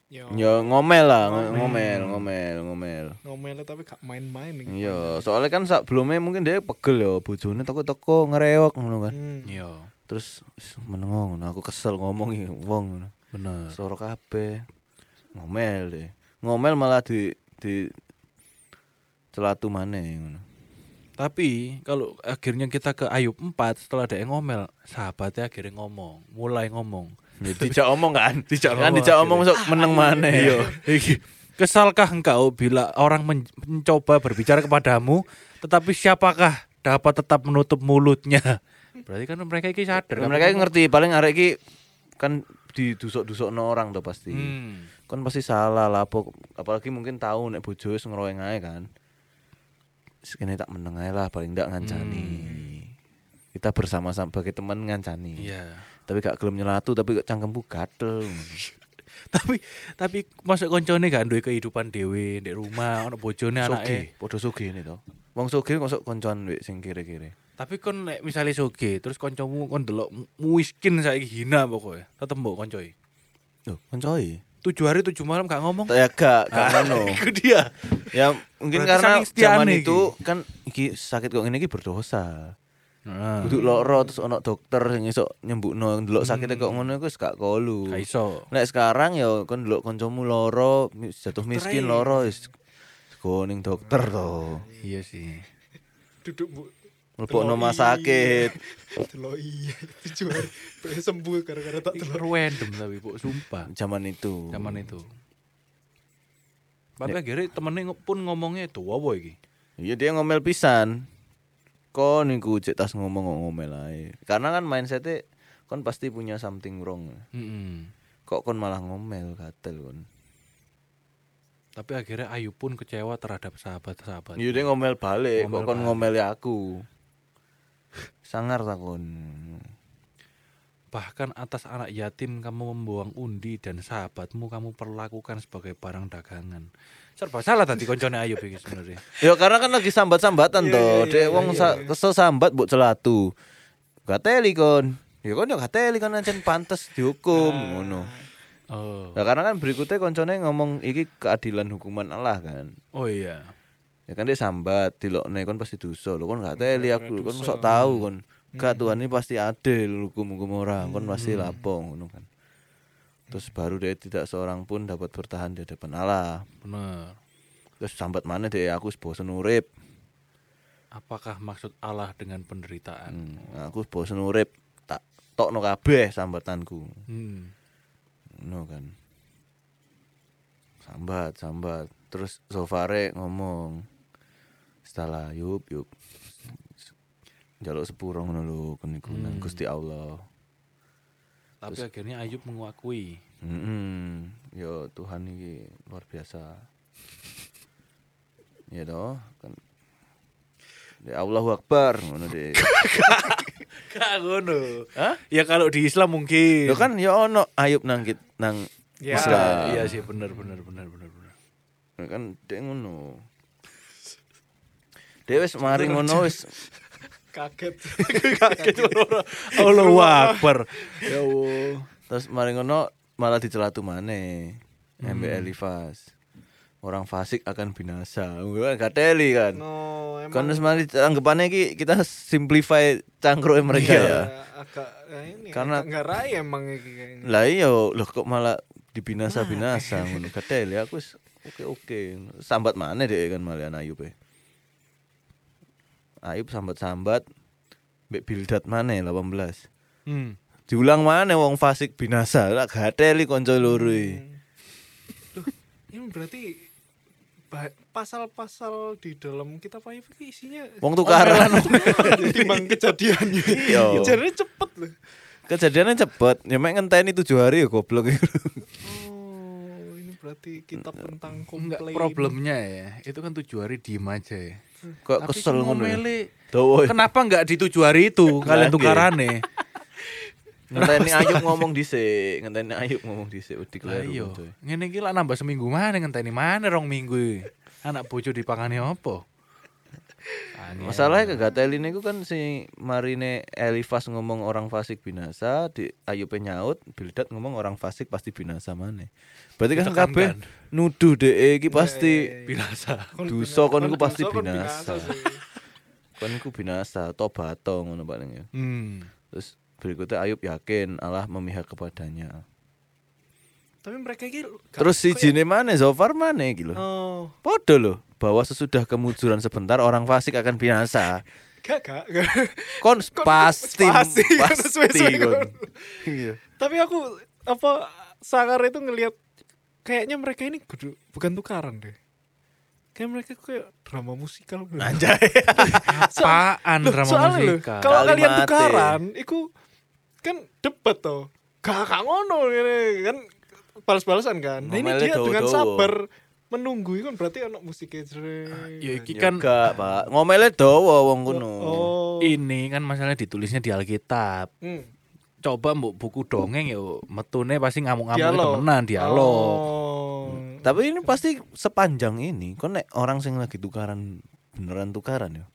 Speaker 3: yo
Speaker 2: Ya ngomel lah,
Speaker 3: Ngomel.
Speaker 2: ngo- ngomel, ngomel, ngomel.
Speaker 3: ngomelnya tapi gak main-main nih
Speaker 2: Iya, soalnya kan sebelumnya mungkin dia pegel ya, bojone teko-teko ngereok ngono kan.
Speaker 3: Hmm.
Speaker 1: Iya,
Speaker 2: Terus wis, menengok ngono, aku kesel ngomong ya wong ngono.
Speaker 1: bener.
Speaker 2: Soro kabeh. Ngomel deh. Ngomel malah di di celatu maneh ngono.
Speaker 1: Tapi kalau akhirnya kita ke Ayub 4 setelah ada yang ngomel, sahabatnya akhirnya ngomong, mulai ngomong.
Speaker 2: Ya, dijak omong kan?
Speaker 1: Dijak
Speaker 2: kan
Speaker 1: ngomong
Speaker 2: dijak
Speaker 1: akhirnya.
Speaker 2: omong sok meneng maneh. Iya.
Speaker 1: Iki, Kesalkah engkau bila orang men- mencoba berbicara kepadamu, tetapi siapakah dapat tetap menutup mulutnya? Berarti kan mereka ini sadar. kan?
Speaker 2: Mereka ngerti paling arek iki kan didusuk-dusuk orang tuh pasti.
Speaker 1: Hmm.
Speaker 2: kan pasti salah lah pok- apalagi mungkin tahu nek bojo wis ngeroeng ae kan sekene tak meneng ae lah paling ndak ngancani Hmm. kita bersama-sama sebagai teman ngancani
Speaker 1: Iya.
Speaker 2: tapi gak gelem nyelatu tapi kok cangkemku gatel
Speaker 1: Tapi tapi masuk koncone gak duwe kehidupan dhewe ndek rumah, ono bojone anake.
Speaker 2: soge podo soge ini to wong soge kok sok koncoan wek sing kiri-kiri
Speaker 1: Tapi kon nek misale soge, terus kancamu kon delok mu- miskin saiki hina pokoknya. Tetep mbok koncoi.
Speaker 2: lho koncoi
Speaker 1: Tujuh hari tujuh malam gak ngomong.
Speaker 2: ya gak gak ngono
Speaker 1: Iku dia.
Speaker 2: ya mungkin
Speaker 1: Berarti
Speaker 2: karena
Speaker 1: saking setiane
Speaker 2: zaman
Speaker 1: iki.
Speaker 2: itu kan iki sakit kok ngene iki berdosa
Speaker 1: Nah,
Speaker 2: Duduk loro terus ono dokter sing iso nyembukno ndelok sakite kok ngono iku wis gak kolu.
Speaker 1: gak iso.
Speaker 2: Nek sekarang ya kon ndelok kancamu loro mi- jatuh miskin
Speaker 1: Doktere.
Speaker 2: loro wis go ning dokter to.
Speaker 1: Iya sih.
Speaker 3: duduk bu
Speaker 2: Mlebokno rumah sakit.
Speaker 3: Delok iya tujuh hari Pengen sembuh gara-gara tak telur
Speaker 1: random tapi bu sumpah
Speaker 2: Zaman itu.
Speaker 1: zaman itu tapi akhirnya temennya nge- pun ngomongnya itu wow iki
Speaker 2: Iya dia ngomel pisan. Kon niku cek tas ngomong kok ngomel ae. Karena kan mindsetnya kon pasti punya something wrong.
Speaker 1: Mm-mm.
Speaker 2: Kok kon malah ngomel gatel kon.
Speaker 1: tapi akhirnya Ayu pun kecewa terhadap sahabat-sahabat
Speaker 2: Iya dia ngomel balik,
Speaker 1: Ngomel
Speaker 2: kok kon
Speaker 1: balik.
Speaker 2: ngomel aku. Sangar ta kon.
Speaker 1: bahkan atas anak yatim kamu membuang undi dan sahabatmu kamu perlakukan sebagai barang dagangan serba salah tadi koncone Ayu iki sebenarnya
Speaker 2: Ya karena kan lagi sambat-sambatan
Speaker 3: Iya,
Speaker 2: to.
Speaker 3: iya,
Speaker 2: Dek
Speaker 3: iya,
Speaker 2: wong
Speaker 3: iya,
Speaker 2: sa-
Speaker 3: iya.
Speaker 2: kesel sambat mbok celatu. Gateli kon. Ya kon yo gateli kon ancen pantes dihukum
Speaker 3: Ah.
Speaker 2: ngono.
Speaker 1: oh
Speaker 2: Nah, karena kan berikutnya koncone ngomong iki keadilan hukuman Allah kan.
Speaker 1: oh iya
Speaker 2: Ya kan dia sambat dilokne kon pasti dosa lho kon gateli aku kon sok tahu kon. Gak Tuhan ini pasti adil hukum-hukum orang kon pasti lapo ngono kan. Terus baru dia tidak seorang pun dapat bertahan di hadapan Allah.
Speaker 1: bener
Speaker 2: Terus sambat mana dia aku bosen urip.
Speaker 1: apakah maksud Allah dengan penderitaan
Speaker 2: Hmm, aku bosen urip tak tokno kabeh sambatanku.
Speaker 1: Hmm.
Speaker 2: No kan. sambat sambat terus Sofare ngomong setelah yup yup jaluk sepuro ngono lho keniku nang
Speaker 1: Hmm.
Speaker 2: Gusti Allah
Speaker 1: Tapi akhirnya Ayub mengakui.
Speaker 2: Mm-mm. Yo Tuhan ini luar biasa. Ya toh kan. Ya Allahu Akbar ngono deh.
Speaker 1: Kak ngono.
Speaker 2: Hah?
Speaker 1: Ya kalau di Islam mungkin.
Speaker 2: Yo kan ya ono Ayub nang kit- nang
Speaker 3: Ya.
Speaker 2: Islam.
Speaker 1: Iya sih benar benar benar benar benar.
Speaker 2: Ya kan dek ngono. Dek wis mari ngono wis.
Speaker 3: kaget
Speaker 1: Kaget ora. Allahu Akbar.
Speaker 2: Ya Allah. Terus mari ngono malah dicelatu maneh. MBL Elifas. Orang fasik akan binasa. Wah, Gateli kan.
Speaker 3: no
Speaker 2: Kan
Speaker 3: emang
Speaker 2: sebenarnya anggapannya ki kita simplify cangkruk mereka ya.
Speaker 3: ya, agak ya ini
Speaker 2: Karena-
Speaker 3: karena nggak raya emang iki kayaknya
Speaker 2: Lah iya loh kok malah dibinasa-binasa ngono katel ya aku wis oke-oke. Sambat mana deh kan malian Ayub ya. Ayub sambat-sambat mbek bildat mana 18.
Speaker 1: Hmm.
Speaker 2: Diulang mana wong fasik binasa lah gateli konco loro e. iki.
Speaker 3: Loh, ini berarti ba- pasal-pasal di dalam kitab Ayub itu isinya
Speaker 2: Wong tukaran.
Speaker 3: timbang kejadiannya.
Speaker 2: Iya.
Speaker 3: Kejadiannya cepet loh.
Speaker 2: Kejadiannya cepet, ya mek ngenteni 7 hari ya goblok iku.
Speaker 3: Oh, ini berarti kitab tentang
Speaker 1: Enggak
Speaker 3: komplain.
Speaker 1: problemnya ya. Itu kan tujuh hari diem aja ya.
Speaker 2: Kok
Speaker 1: Tapi
Speaker 2: kesel
Speaker 1: kan
Speaker 2: ngono. ya.
Speaker 1: ngomeli,
Speaker 2: Tuh, woi.
Speaker 1: Kenapa enggak di tujuh hari itu kalian ya?
Speaker 2: Lagi.
Speaker 1: tukarane?
Speaker 2: Ngenteni Ayub ngomong dhisik, ngenteni Ayub ngomong dhisik wedi
Speaker 1: Lah
Speaker 2: kleru.
Speaker 1: iya,
Speaker 2: coy.
Speaker 1: ngene iki lak nambah seminggu maneh ngenteni maneh rong minggu. iki. Anak bojo dipangani apa? Angel.
Speaker 2: Masalahnya kegateli ini kan si Marine Elifas ngomong orang fasik binasa, di Ayub nyaut, Bildad ngomong orang fasik pasti binasa mana. Berarti kan
Speaker 1: Ditekankan. Iya,
Speaker 2: kabeh nuduh deh
Speaker 3: Iya,
Speaker 2: iki pasti
Speaker 1: binasa.
Speaker 3: Kon
Speaker 2: Duso
Speaker 3: bina-
Speaker 2: kon
Speaker 3: kon
Speaker 2: ku pasti
Speaker 3: duso, kon
Speaker 2: binasa.
Speaker 3: sih.
Speaker 1: iya.
Speaker 2: kan ku binasa, tobato ngono paling ya.
Speaker 1: Hmm.
Speaker 2: Terus berikutnya Ayub yakin Allah memihak kepadanya.
Speaker 3: Tapi mereka ini gak-
Speaker 2: Terus si
Speaker 3: kayak-
Speaker 2: jine mana Zofar mana gitu loh.
Speaker 3: ya? Oh,
Speaker 2: Podo loh bahwa sesudah kemujuran sebentar orang fasik akan binasa.
Speaker 3: gak gak. gak.
Speaker 2: Kon pasti
Speaker 3: pasti, kon
Speaker 2: pasti
Speaker 3: sesuai-suai
Speaker 2: kon.
Speaker 3: kon.
Speaker 2: Iya.
Speaker 3: Tapi aku apa Sakar itu ngelihat kayaknya mereka ini kudu- bukan tukaran deh. Kayak mereka kayak drama musikal gitu.
Speaker 2: Anjay.
Speaker 1: Apaan Kan
Speaker 3: Loh,
Speaker 1: drama
Speaker 3: soalnya loh,
Speaker 1: musikal?
Speaker 3: kalau kalian
Speaker 2: Kalimatnya.
Speaker 3: tukaran, itu kan debat toh. Gak gak ngono ngene, kan balas-balasan kan. Nah, ini
Speaker 2: Ngomelnya
Speaker 3: dia dengan
Speaker 2: dawa-dawa.
Speaker 3: sabar menunggu itu kan berarti anak musik jere.
Speaker 1: Ya iki
Speaker 2: Kan
Speaker 1: kan
Speaker 2: enggak, Pak. Ngomele dawa wong kuno.
Speaker 3: Oh.
Speaker 1: ini kan masalahnya ditulisnya di Alkitab.
Speaker 3: Hmm.
Speaker 1: Coba mbok buku dongeng yo metune pasti ngamuk-ngamuk
Speaker 3: Dialog.
Speaker 1: temenan dialog.
Speaker 3: Oh.
Speaker 2: Tapi ini pasti sepanjang ini kon nek orang sing lagi tukaran beneran tukaran ya.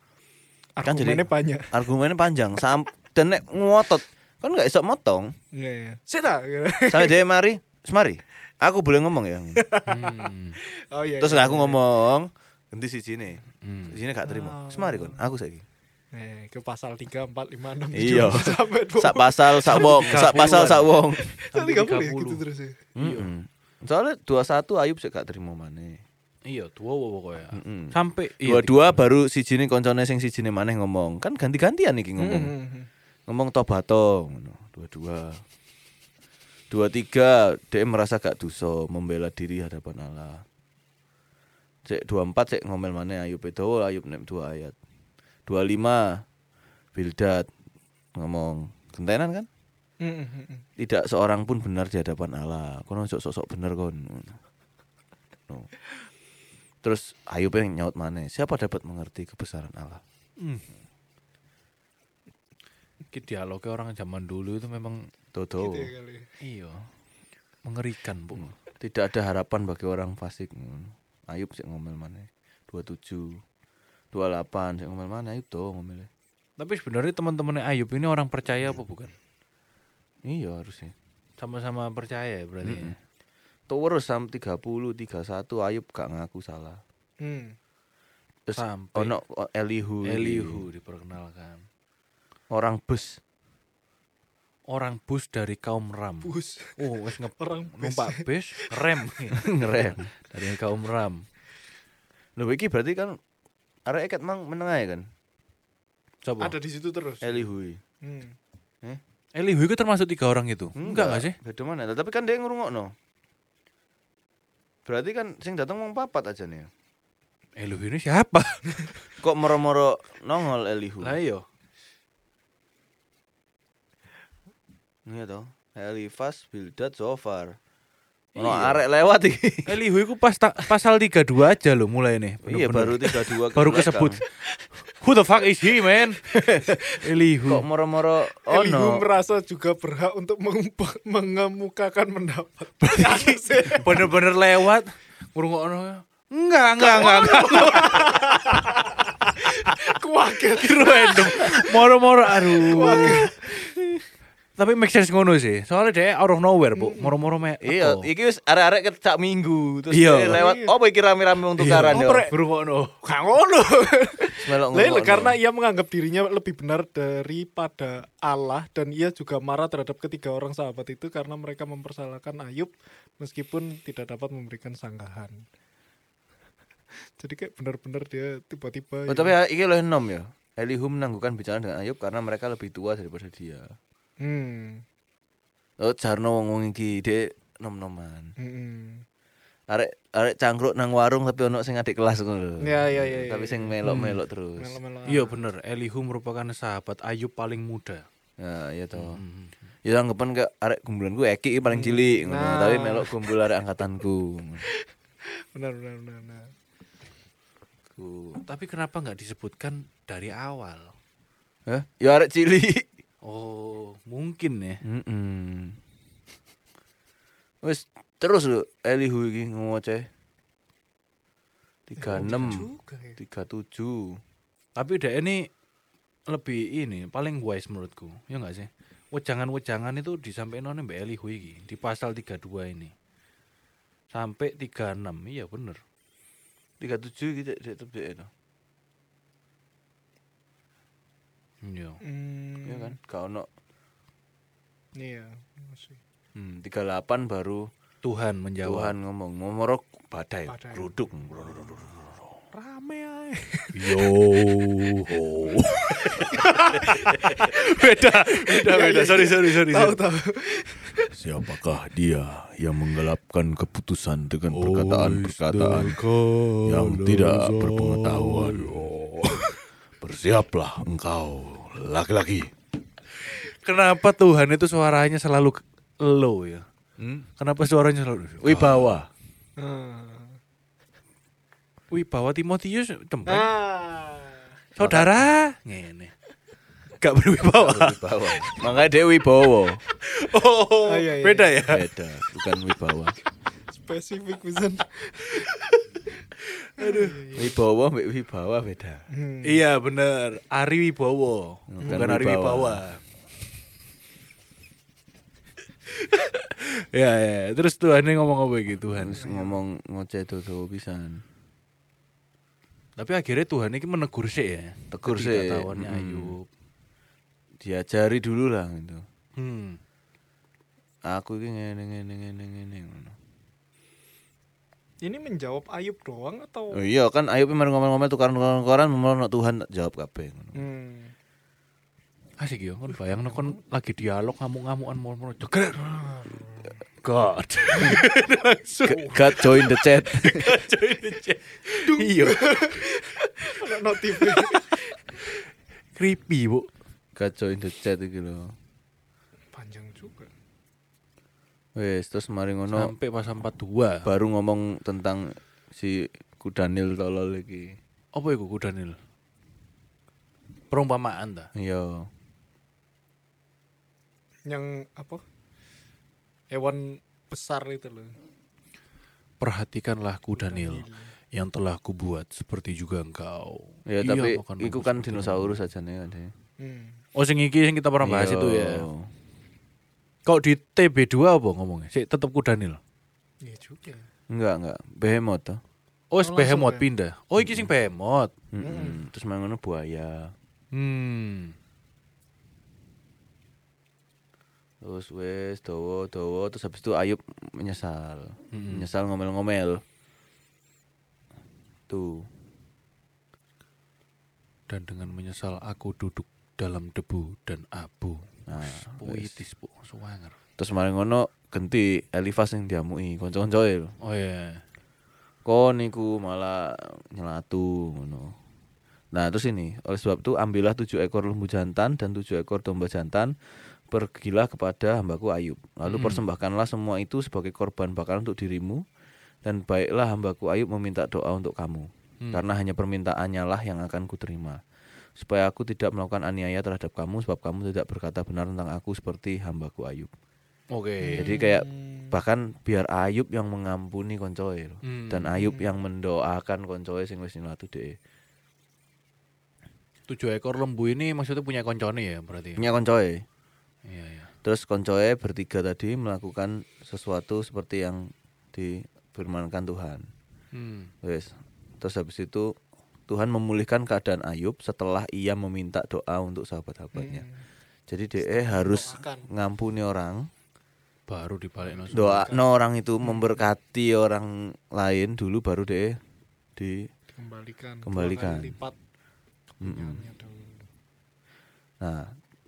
Speaker 2: Kan jadi
Speaker 3: Argumennya banyak.
Speaker 2: argumennya panjang sam dan nek ngotot kan nggak iso motong.
Speaker 3: Iya, iya. Sita. gitu.
Speaker 2: Sampai dia mari, semari. Aku boleh ngomong ya.
Speaker 1: Hmm.
Speaker 3: Oh iya.
Speaker 2: Terus
Speaker 3: iya,
Speaker 2: aku
Speaker 3: iya.
Speaker 2: ngomong, ganti si sini.
Speaker 1: Hmm.
Speaker 2: Si sini gak terima. Semari kon, aku saiki.
Speaker 3: Eh, ke pasal 3 4 5 6
Speaker 2: Iya.
Speaker 3: 7 sampai 20.
Speaker 2: Sak pasal sak wong, sak pasal sak wong.
Speaker 3: Sampai 30 ya, gitu terus ya.
Speaker 2: Mm-mm. Soalnya 21 Ayub sih gak terima maneh.
Speaker 1: Iya, dua pokoknya.
Speaker 2: Mm-mm.
Speaker 1: Sampai iya,
Speaker 2: Dua-dua baru si jini koncone sing si jini maneh ngomong. Kan ganti-gantian iki ngomong.
Speaker 3: Hmm.
Speaker 2: ngomong tobato ngono dua dua dua tiga dia merasa gak dosa membela diri hadapan Allah cek dua empat cek ngomel mana ayub itu Oh, ayub nek dua ayat dua lima bildat ngomong kentenan kan
Speaker 3: Hmm, hmm, hmm.
Speaker 2: tidak seorang pun benar di hadapan Allah kono sok sok bener kon No. terus ayub yang nyaut mana siapa dapat mengerti kebesaran Allah
Speaker 1: Hmm. Ki dialognya orang zaman dulu itu memang
Speaker 2: Toto
Speaker 3: Gitu ya kali.
Speaker 1: iya mengerikan bu.
Speaker 2: tidak ada harapan bagi orang fasik ngono. Ayub sik ngomel maneh 27 28 sik ngomel maneh Ayub tuh ngomel
Speaker 1: Tapi sebenarnya teman-temannya Ayub ini orang percaya apa bukan?
Speaker 2: iya harusnya
Speaker 1: Sama-sama percaya ya berarti. ya?
Speaker 2: terus sam 30 31 Ayub gak ngaku salah
Speaker 3: Hmm.
Speaker 2: terus
Speaker 1: Sampai
Speaker 2: ono o- Elihu
Speaker 1: Elihu diperkenalkan.
Speaker 2: orang bus
Speaker 1: Orang bus dari kaum Ram.
Speaker 3: Bus.
Speaker 1: Oh, wes nge-
Speaker 3: Orang bus.
Speaker 1: numpak bus rem
Speaker 2: ngerem
Speaker 1: dari kaum Ram.
Speaker 2: lho iki berarti kan arek eket mang menengah ya kan
Speaker 1: Coba.
Speaker 3: Ada di situ terus.
Speaker 2: Eh. Elihu
Speaker 3: Hmm.
Speaker 1: Elihu itu termasuk tiga orang itu? Enggak enggak sih?
Speaker 2: beda mana tapi kan dia ngurungokno Berarti kan sing datang wong papat aja nih.
Speaker 1: Elihu ini siapa?
Speaker 2: Kok moro-moro nongol Elihu?
Speaker 1: Lah iya. yo.
Speaker 2: Iya toh. Elifas, Bildad, Zofar. Ono
Speaker 1: Iya.
Speaker 2: arek lewat iki.
Speaker 1: Elihu itu pas ta- pasal 32 aja loh mulai nih.
Speaker 2: Iya baru
Speaker 1: Bener-bener.
Speaker 2: 32
Speaker 1: baru
Speaker 2: kelek
Speaker 1: kesebut.
Speaker 2: kan.
Speaker 1: Who the fuck is he, man?
Speaker 2: Kok
Speaker 1: Elihu.
Speaker 2: moro-moro
Speaker 3: Elihu
Speaker 2: ono.
Speaker 3: merasa juga berhak untuk mengempa- mengemukakan pendapat.
Speaker 1: Bener-bener lewat ngurungokno. Enggak, enggak, enggak, enggak.
Speaker 3: Kuaget.
Speaker 1: Random. Moro-moro aduh. Tapi make sense ngono sih. Soalnya dia out of nowhere, Bu. Moro-moro me.
Speaker 2: Iya,
Speaker 1: apa?
Speaker 2: iki wis arek-arek kecak minggu terus
Speaker 1: Iya.
Speaker 2: dia lewat
Speaker 3: Iya.
Speaker 2: opo iki rame-rame wong tukaran
Speaker 3: Iya.
Speaker 2: yo.
Speaker 3: Oprek.
Speaker 1: Ngurungokno.
Speaker 3: Gak ngono.
Speaker 2: Melok
Speaker 3: Lele,
Speaker 2: ngomong.
Speaker 3: karena ia menganggap dirinya lebih benar daripada Allah dan ia juga marah terhadap ketiga orang sahabat itu karena mereka mempersalahkan Ayub meskipun tidak dapat memberikan sanggahan. Jadi kayak benar-benar dia tiba-tiba
Speaker 2: Oh,
Speaker 3: ya.
Speaker 2: tapi iki lho enom ya. Elihu menangguhkan bicara dengan Ayub karena mereka lebih tua daripada dia.
Speaker 3: Hmm.
Speaker 2: Oh, jarno wong wong iki dhek
Speaker 3: hmm,
Speaker 2: nom-noman.
Speaker 3: Mm-mm.
Speaker 2: Arek arek cangkruk nang warung tapi ono sing adik kelas ngono lho.
Speaker 3: Ya, ya, ya, ya, ya.
Speaker 2: Tapi sing melok-melok terus.
Speaker 3: Melo-melo.
Speaker 1: Iya bener, Elihu merupakan sahabat Ayub paling muda.
Speaker 2: Nah, iya toh. Ya anggapan ke arek kumpulanku Eki paling cilik ngono,
Speaker 3: Nah.
Speaker 2: tapi melok kumpul arek angkatanku.
Speaker 3: Benar, benar, benar, benar.
Speaker 2: Ku.
Speaker 1: Tapi kenapa nggak disebutkan dari awal?
Speaker 2: Hah? Ya arek cilik.
Speaker 1: Oh, mungkin ya.
Speaker 2: Heeh. Wis terus lho Elihu iki ngoceh. 36
Speaker 3: Juga ya.
Speaker 2: 37
Speaker 1: Tapi dia ini lebih ini paling wise menurutku. Ya enggak sih? Wejangan-wejangan itu disampaikan oleh Mbak Elihu iki di pasal 32 ini. Sampai 36. Iya bener.
Speaker 2: 37 gitu dek tebek itu.
Speaker 1: Iya.
Speaker 3: Hmm,
Speaker 2: Ya kan? Gak ono.
Speaker 3: Iya, masih.
Speaker 2: Hmm, 38 baru
Speaker 1: Tuhan
Speaker 4: Ya,
Speaker 1: menjawab.
Speaker 2: Tuhan ngomong ngomorok badai,
Speaker 3: Badai.
Speaker 2: geruduk.
Speaker 3: Rame ae.
Speaker 1: Yo. beda, beda, beda. Sorry, sorry, sorry.
Speaker 3: Tahu
Speaker 1: sorry.
Speaker 3: tahu.
Speaker 4: Siapakah dia yang menggelapkan keputusan dengan perkataan-perkataan yang tidak berpengetahuan? Bersiaplah engkau, laki-laki.
Speaker 1: Kenapa Tuhan itu suaranya selalu ke- low ya? Kenapa suaranya selalu
Speaker 4: Wibawa.
Speaker 3: Ah.
Speaker 1: Wibawa Timotius tempat
Speaker 3: Ah.
Speaker 1: saudara ngene. Gak berwibawa.
Speaker 2: Wibawa. Makanya dia wibawa.
Speaker 1: Oh,
Speaker 3: Ah, iya, iya.
Speaker 1: beda ya.
Speaker 2: Beda, bukan wibawa.
Speaker 3: Spesifik pisan.
Speaker 2: Iya. Wibawa mbek wibawa beda.
Speaker 3: Hmm.
Speaker 1: Iya bener. Ari Wibowo,
Speaker 2: Bukan
Speaker 1: bukan Ari
Speaker 2: Wibawa.
Speaker 1: Wibawa. ya, ya, terus Tuhan ini ngomong apa gitu Tuhan.
Speaker 2: Terus Kan ngomong ngoceh dodo pisan.
Speaker 1: Tapi akhirnya Tuhan ini menegur sih ya.
Speaker 2: Tegur sih.
Speaker 1: Ketidaktahuannya
Speaker 2: Mm.
Speaker 1: Ayub.
Speaker 2: Diajari dulu lah gitu.
Speaker 1: Hmm.
Speaker 2: Aku iki ngene ngene ngene ngene ngono.
Speaker 3: Ini menjawab Ayub doang atau?
Speaker 2: Oh iya kan Ayub mari ngomel-ngomel tukaran-tukaran ngomel Tuhan tak jawab kabeh ngono.
Speaker 3: Hmm.
Speaker 1: Asik ya, kan bayang kon lagi dialog ngamuk-ngamukan moro-moro jeger. God.
Speaker 2: G- God join the chat.
Speaker 1: Iya,
Speaker 3: Ada notif.
Speaker 1: creepy, Bu.
Speaker 2: God join the chat iki lho.
Speaker 3: Panjang juga.
Speaker 2: Wes terus mari ngono
Speaker 1: Sampai pasal 42.
Speaker 2: baru ngomong tentang si Kudanil tolol iki.
Speaker 1: Apa iku Ku Daniel? Perumpamaan ta?
Speaker 2: Iya.
Speaker 3: Yang apa? Hewan besar itu loh.
Speaker 1: Perhatikanlah ku Daniel yang telah kubuat seperti juga engkau.
Speaker 2: Ya
Speaker 1: Iya,
Speaker 2: tapi
Speaker 1: makan manusia
Speaker 2: iku kan
Speaker 1: seperti
Speaker 2: dinosaurus aja nih kan dia.
Speaker 3: Hmm.
Speaker 1: kamu. Oh sing iki sing kita pernah bahas
Speaker 2: Iya.
Speaker 1: itu ya. Kok di TB2 apa ngomongnya? Sik tetep ku Daniel.
Speaker 3: Iya juga.
Speaker 2: Enggak, enggak. Behemoth toh.
Speaker 1: Oh, oh
Speaker 3: langsung
Speaker 1: behemoth
Speaker 3: ya?
Speaker 1: pindah. Oh iki sing
Speaker 2: Iya.
Speaker 1: behemoth.
Speaker 2: Mm-mm. Terus main ngono buaya.
Speaker 1: Hmm.
Speaker 2: Terus wes dowo dowo terus habis itu Ayub menyesal. Menyesal ngomel-ngomel. Tuh.
Speaker 1: Dan dengan menyesal aku duduk dalam debu dan abu.
Speaker 2: Nah,
Speaker 1: Puitis, Bu. Suwanger.
Speaker 2: terus mari ngono genti Elifas yang diamuki kanca-kancae lho.
Speaker 1: Oh iya.
Speaker 2: kon iku malah nyelatu ngono. Nah, terus ini, oleh sebab itu ambillah tujuh ekor lembu jantan dan tujuh ekor domba jantan, pergilah kepada hambaku Ayub. Lalu persembahkanlah semua itu sebagai korban bakaran untuk dirimu, dan baiklah hambaku Ayub meminta doa untuk kamu, karena hanya permintaannya lah yang akan kuterima. Supaya aku tidak melakukan aniaya terhadap kamu, sebab kamu tidak berkata benar tentang aku seperti hambaku Ayub.
Speaker 1: Oke.
Speaker 2: Jadi kayak bahkan biar Ayub yang mengampuni koncoe loh. dan Ayub yang mendoakan koncoe sing wis nyelatu dhewe.
Speaker 1: Tujuh ekor lembu ini maksudnya punya koncone ya berarti.
Speaker 2: Punya koncoe.
Speaker 1: Iya iya.
Speaker 2: Terus koncoe bertiga tadi melakukan sesuatu seperti yang difirmankan Tuhan.
Speaker 1: Hmm.
Speaker 2: Wes. Terus habis itu Tuhan memulihkan keadaan Ayub setelah ia meminta doa untuk
Speaker 3: Hmm.
Speaker 2: sahabat-sahabatnya. Jadi DE harus ngampuni orang,
Speaker 1: Baru dibalik langsung.
Speaker 2: doa orang itu memberkati orang lain dulu baru DE di
Speaker 3: dikembalikan dua
Speaker 2: Kembalikan. Hmm.
Speaker 3: kali lipat punyaannya dahulu.
Speaker 2: Nah,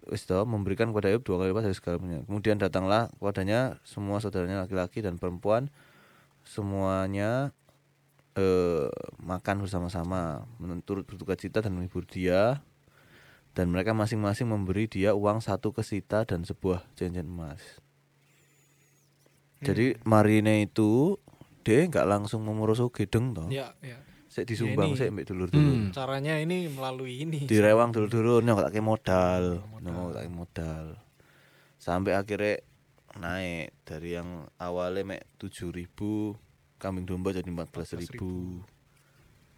Speaker 2: wis toh, memberikan kepada Ayub dua kali lipat dari segala punya. Kemudian datanglah kepadanya semua saudaranya laki-laki dan perempuan semuanya eh, makan bersama-sama, menurut berduka cita dan menghibur dia. Dan mereka masing-masing memberi dia uang satu kesita dan sebuah cincin emas. Jadi
Speaker 3: Hmm.
Speaker 2: Marine itu dia nggak langsung memuruh gedeng toh.
Speaker 3: ya ya
Speaker 2: Sik disumbang
Speaker 3: Ini.
Speaker 2: sik mbek dulur-dulur
Speaker 1: Hmm.
Speaker 3: caranya ini melalui ini
Speaker 2: direwang dulu dulu nyok tak Iya modal nyok tak modal sampai akhirnya naik dari yang awalnya mek tujuh ribu kambing domba jadi empat belas ribu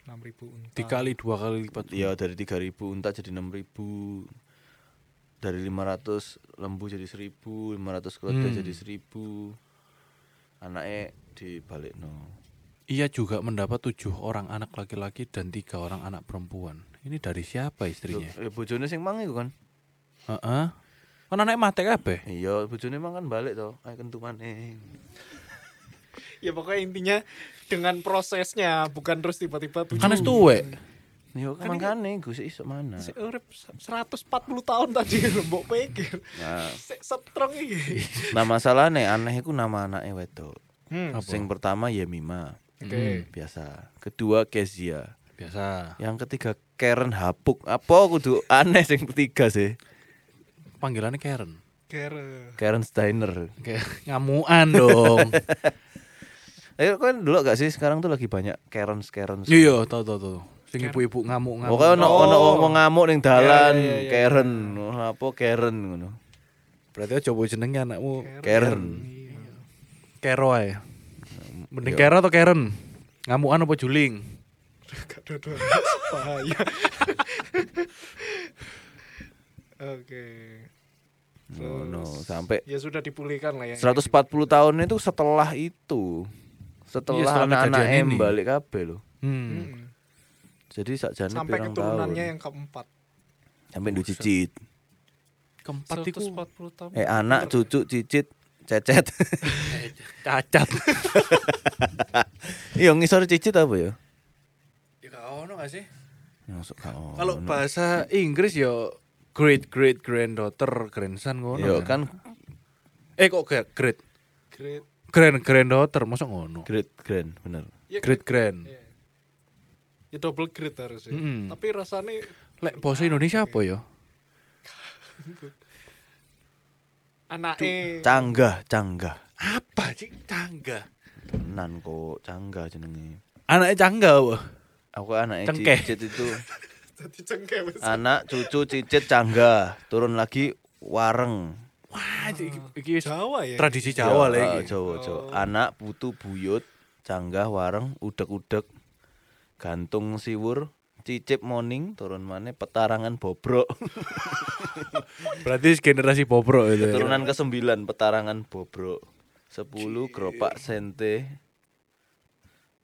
Speaker 3: enam ribu unta
Speaker 1: Dikali dua kali lipat.
Speaker 2: ya dari tiga ribu unta jadi enam ribu dari 500 lembu jadi 1000 500 keledai jadi 1000 anaknya dibalik no
Speaker 1: Ia juga mendapat tujuh orang anak laki-laki dan tiga orang anak perempuan. Ini dari siapa istrinya?
Speaker 2: eh, bojone sing mang iku kan
Speaker 1: Heeh. Kan anak mati kabeh.
Speaker 2: iya bojone mang kan balik to ayo kentu maneh
Speaker 3: ya pokoknya intinya dengan prosesnya bukan terus tiba-tiba tujuh
Speaker 1: Kan wis tuwek.
Speaker 2: yo kan mangkane gue sih iso mana
Speaker 3: Si urip 140 tahun tadi lho, mbok pikir.
Speaker 2: nah
Speaker 3: Sik setrong iki.
Speaker 2: Nah masalahnya aneh itu nama anaknya wedok.
Speaker 3: Hmm.
Speaker 1: Apa?
Speaker 2: Sing pertama ya Mima
Speaker 3: Oke.
Speaker 2: biasa. Kedua Kezia.
Speaker 1: Biasa.
Speaker 2: Yang ketiga Karen Hapuk. Apa kudu aneh sing ketiga sih?
Speaker 1: Panggilannya Karen.
Speaker 3: Kere.
Speaker 2: Karen Steiner.
Speaker 1: Kayak ngamuan dong.
Speaker 2: Eh kan dulu gak sih sekarang tuh lagi banyak Karen Karen.
Speaker 1: Iya, tau tau tau. Sing ibu-ibu ngamuk-ngamuk. Oh.
Speaker 2: Pokoknya Oh, ono ono wong wong ngamuk ning dalan
Speaker 3: Iya, iya, iya,
Speaker 2: Karen. Oh, Apa Karen ngono.
Speaker 1: Berarti aja coba jenenge anakmu
Speaker 2: Karen.
Speaker 3: Iya.
Speaker 1: Kero ae. Mending Kero atau Karen? Ngamukan apa juling?
Speaker 3: Gak dodo. Bahaya. Oke.
Speaker 2: Ngono sampai
Speaker 3: Ya sudah dipulihkan lah ya.
Speaker 2: 140 tahun itu setelah itu. Setelah,
Speaker 3: Iya,
Speaker 1: setelah
Speaker 2: anak-anak
Speaker 1: kejadian
Speaker 2: em
Speaker 1: ini.
Speaker 2: balik kabeh loh.
Speaker 1: Hmm.
Speaker 3: Hmm.
Speaker 2: Jadi sakjane
Speaker 3: Sampai
Speaker 2: pirang
Speaker 3: keturunannya
Speaker 2: tahun.
Speaker 3: yang keempat.
Speaker 2: sampai ndu cicit
Speaker 1: Keempat iku
Speaker 3: 140 tahun.
Speaker 2: eh anak cucu cicit cecet
Speaker 1: cacat.
Speaker 2: iya ngisor cicit apa ya
Speaker 1: Ya gak ono gak sih?
Speaker 2: masuk kau
Speaker 1: Kalau bahasa Inggris ya great great granddaughter, grandson ngono.
Speaker 2: yo kan
Speaker 1: Eh kok ge- great
Speaker 3: Great.
Speaker 1: grand granddaughter masa ngono?
Speaker 2: great grand bener
Speaker 3: Ya,
Speaker 1: Great grand.
Speaker 3: Iya. Ya double grade harusnya.
Speaker 1: Mm-mm.
Speaker 3: Tapi rasanya
Speaker 1: Lek bahasa Indonesia apa ya?
Speaker 3: anaknya
Speaker 2: canggah canggah
Speaker 1: Apa sih cangga?
Speaker 2: tenan kok canggah jenenge
Speaker 1: Anaknya cangga apa?
Speaker 2: aku anak
Speaker 1: Cengkeh.
Speaker 2: cicit itu
Speaker 3: jadi cengkeh Mas.
Speaker 2: anak cucu cicit canggah turun lagi wareng
Speaker 1: Wah, iki iki wis
Speaker 3: Jawa ya.
Speaker 1: tradisi Jawa Oh. lah
Speaker 2: lagi
Speaker 1: iki.
Speaker 2: Jawa Jawa anak putu buyut canggah wareng udek udek gantung siwur cicip moning turun mana petarangan bobrok
Speaker 1: Berarti generasi bobro itu. ya.
Speaker 2: Turunan ke sembilan petarangan bobrok. Sepuluh geropak sente.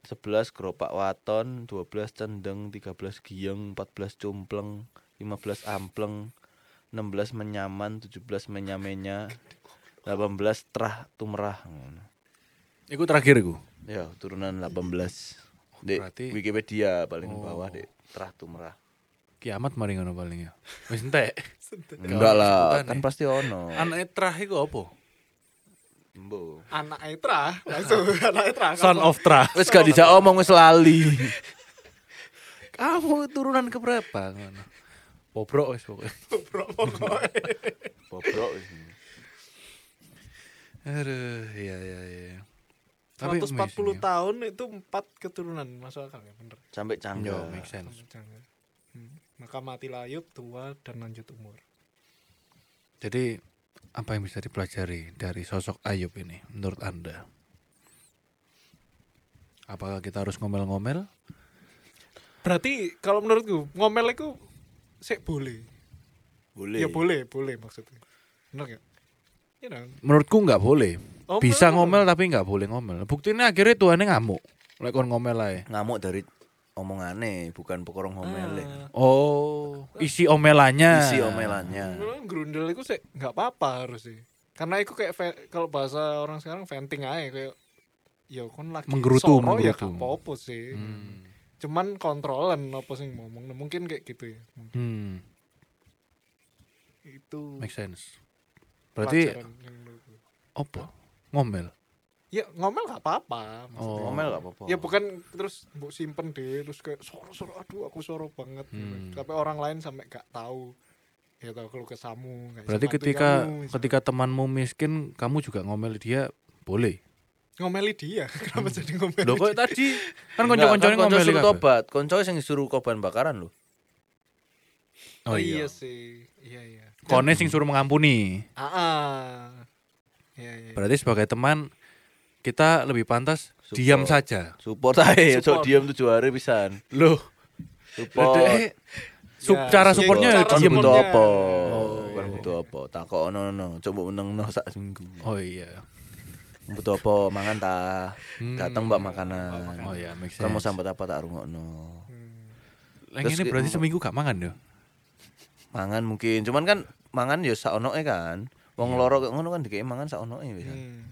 Speaker 2: Sebelas geropak waton, dua belas cendeng, tiga belas gieng, empat belas cumpleng, lima belas ampleng, enam belas menyaman, tujuh belas menyamenya, delapan belas terah tumrah. ngono.
Speaker 1: Iku terakhir iku.
Speaker 2: Ya turunan delapan belas. Di
Speaker 1: Oh, berarti- Oh.
Speaker 2: Wikipedia paling bawah dek terah tumrah.
Speaker 1: Kiamat mari ngono paling ya. Wis entek.
Speaker 2: Enggak lah,
Speaker 1: sebutan
Speaker 2: kan
Speaker 1: ya.
Speaker 2: pasti ono.
Speaker 1: Anaknya terah iku apa?
Speaker 2: Embo.
Speaker 3: anak Etra langsung anak Etra
Speaker 1: Son of Tra.
Speaker 2: Wis gak dijak omong wis lali.
Speaker 1: Kamu turunan ke berapa? Ngono. Bobrok wis pokoknya.
Speaker 3: bro pokoknya
Speaker 2: Bobrok wis.
Speaker 1: Aduh, iya iya iya.
Speaker 3: 140
Speaker 1: amazing ya.
Speaker 3: tahun itu empat keturunan masuk akal ya bener
Speaker 2: Sampai
Speaker 1: Yo,
Speaker 2: canggih.
Speaker 1: make sense.
Speaker 3: Jangan. Hmm. maka mati layut tua dan lanjut umur
Speaker 1: Jadi apa yang bisa dipelajari dari sosok Ayub ini menurut Anda? Apakah kita harus ngomel-ngomel?
Speaker 3: berarti kalau menurutku ngomel itu sik boleh ya boleh boleh maksudnya bener gak ya dong
Speaker 1: Menurutku nggak boleh.
Speaker 3: Oh,
Speaker 1: bisa
Speaker 3: bener.
Speaker 1: ngomel tapi nggak boleh ngomel. Buktinya akhirnya Tuhannya ngamuk. Lek kon ngomel ae.
Speaker 2: Ngamuk dari omongane bukan pekorong
Speaker 1: ya.
Speaker 2: omele.
Speaker 3: Ah.
Speaker 1: Oh, isi omelannya.
Speaker 2: Isi omelannya.
Speaker 3: Sebenarnya grundel itu sih nggak apa-apa harusnya. Karena itu kayak ve- kalau bahasa orang sekarang venting aja kayak ya kon lagi
Speaker 1: Menggerutu,
Speaker 3: soro ya
Speaker 1: menggerutu.
Speaker 3: gak apa-apa sih.
Speaker 1: Hmm.
Speaker 3: Cuman kontrolan apa sih yang ngomong. Nah, mungkin kayak gitu ya. Mungkin
Speaker 1: hmm,
Speaker 3: Itu
Speaker 1: make sense. Berarti
Speaker 3: pelajaran yang menurutku.
Speaker 1: apa? Ngomel.
Speaker 3: ya ngomel gak apa-apa. maksudnya.
Speaker 1: Oh.
Speaker 2: Omel gak apa-apa.
Speaker 3: Ya bukan terus mbok simpen deh terus kayak soro-soro aduh aku soro banget.
Speaker 1: Hmm.
Speaker 3: Tapi orang lain sampai gak tahu ya tahu kalau kesamu nggak bisa
Speaker 1: Berarti
Speaker 3: bantu
Speaker 1: ketika
Speaker 3: kamu, misalnya.
Speaker 1: ketika temanmu miskin, kamu juga ngomel dia boleh.
Speaker 3: ngomeli dia kenapa jadi ngomeli
Speaker 1: Hmm. Loh kok tadi kan
Speaker 2: Enggak,
Speaker 1: konco-koncone
Speaker 2: konco
Speaker 1: ngomel
Speaker 2: suruh tobat. Konco sing disuruh korban bakaran lho.
Speaker 1: Oh iya.
Speaker 3: sih. Iya iya.
Speaker 1: Kone sing suruh mengampuni.
Speaker 3: Ah, ah. Iya iya.
Speaker 1: Berarti sebagai teman kita lebih pantas
Speaker 2: Support.
Speaker 1: diam saja.
Speaker 2: Support ae, ojo
Speaker 3: Support.
Speaker 2: diam tujuh hari pisan.
Speaker 1: Loh,
Speaker 2: Support.
Speaker 1: sup,
Speaker 3: Ya,
Speaker 1: eh, cara
Speaker 3: iya,
Speaker 1: supportnya
Speaker 3: cara
Speaker 1: ya
Speaker 2: Kan
Speaker 1: diam.
Speaker 2: butuh
Speaker 3: supportnya.
Speaker 2: apa?
Speaker 1: Oh,
Speaker 2: Kan
Speaker 1: iya.
Speaker 2: butuh apa? Takokno no, coba meneng no sak minggu.
Speaker 1: Oh iya.
Speaker 2: Butuh apa? Mangan ta.
Speaker 1: Hmm.
Speaker 2: Datang mbak makanan.
Speaker 1: Oh iya, make sense.
Speaker 2: Kamu sambat apa tak rungokno.
Speaker 3: Hmm.
Speaker 1: Lah, ini
Speaker 2: Terus ki-
Speaker 1: berarti seminggu gak makan ya?
Speaker 2: Mangan mungkin, cuman kan mangan ya sak onoke kan.
Speaker 3: Iya.
Speaker 2: Wong loro kok ngono kan dikei mangan sak onoke
Speaker 1: Iya.
Speaker 2: pisan.
Speaker 3: Hmm.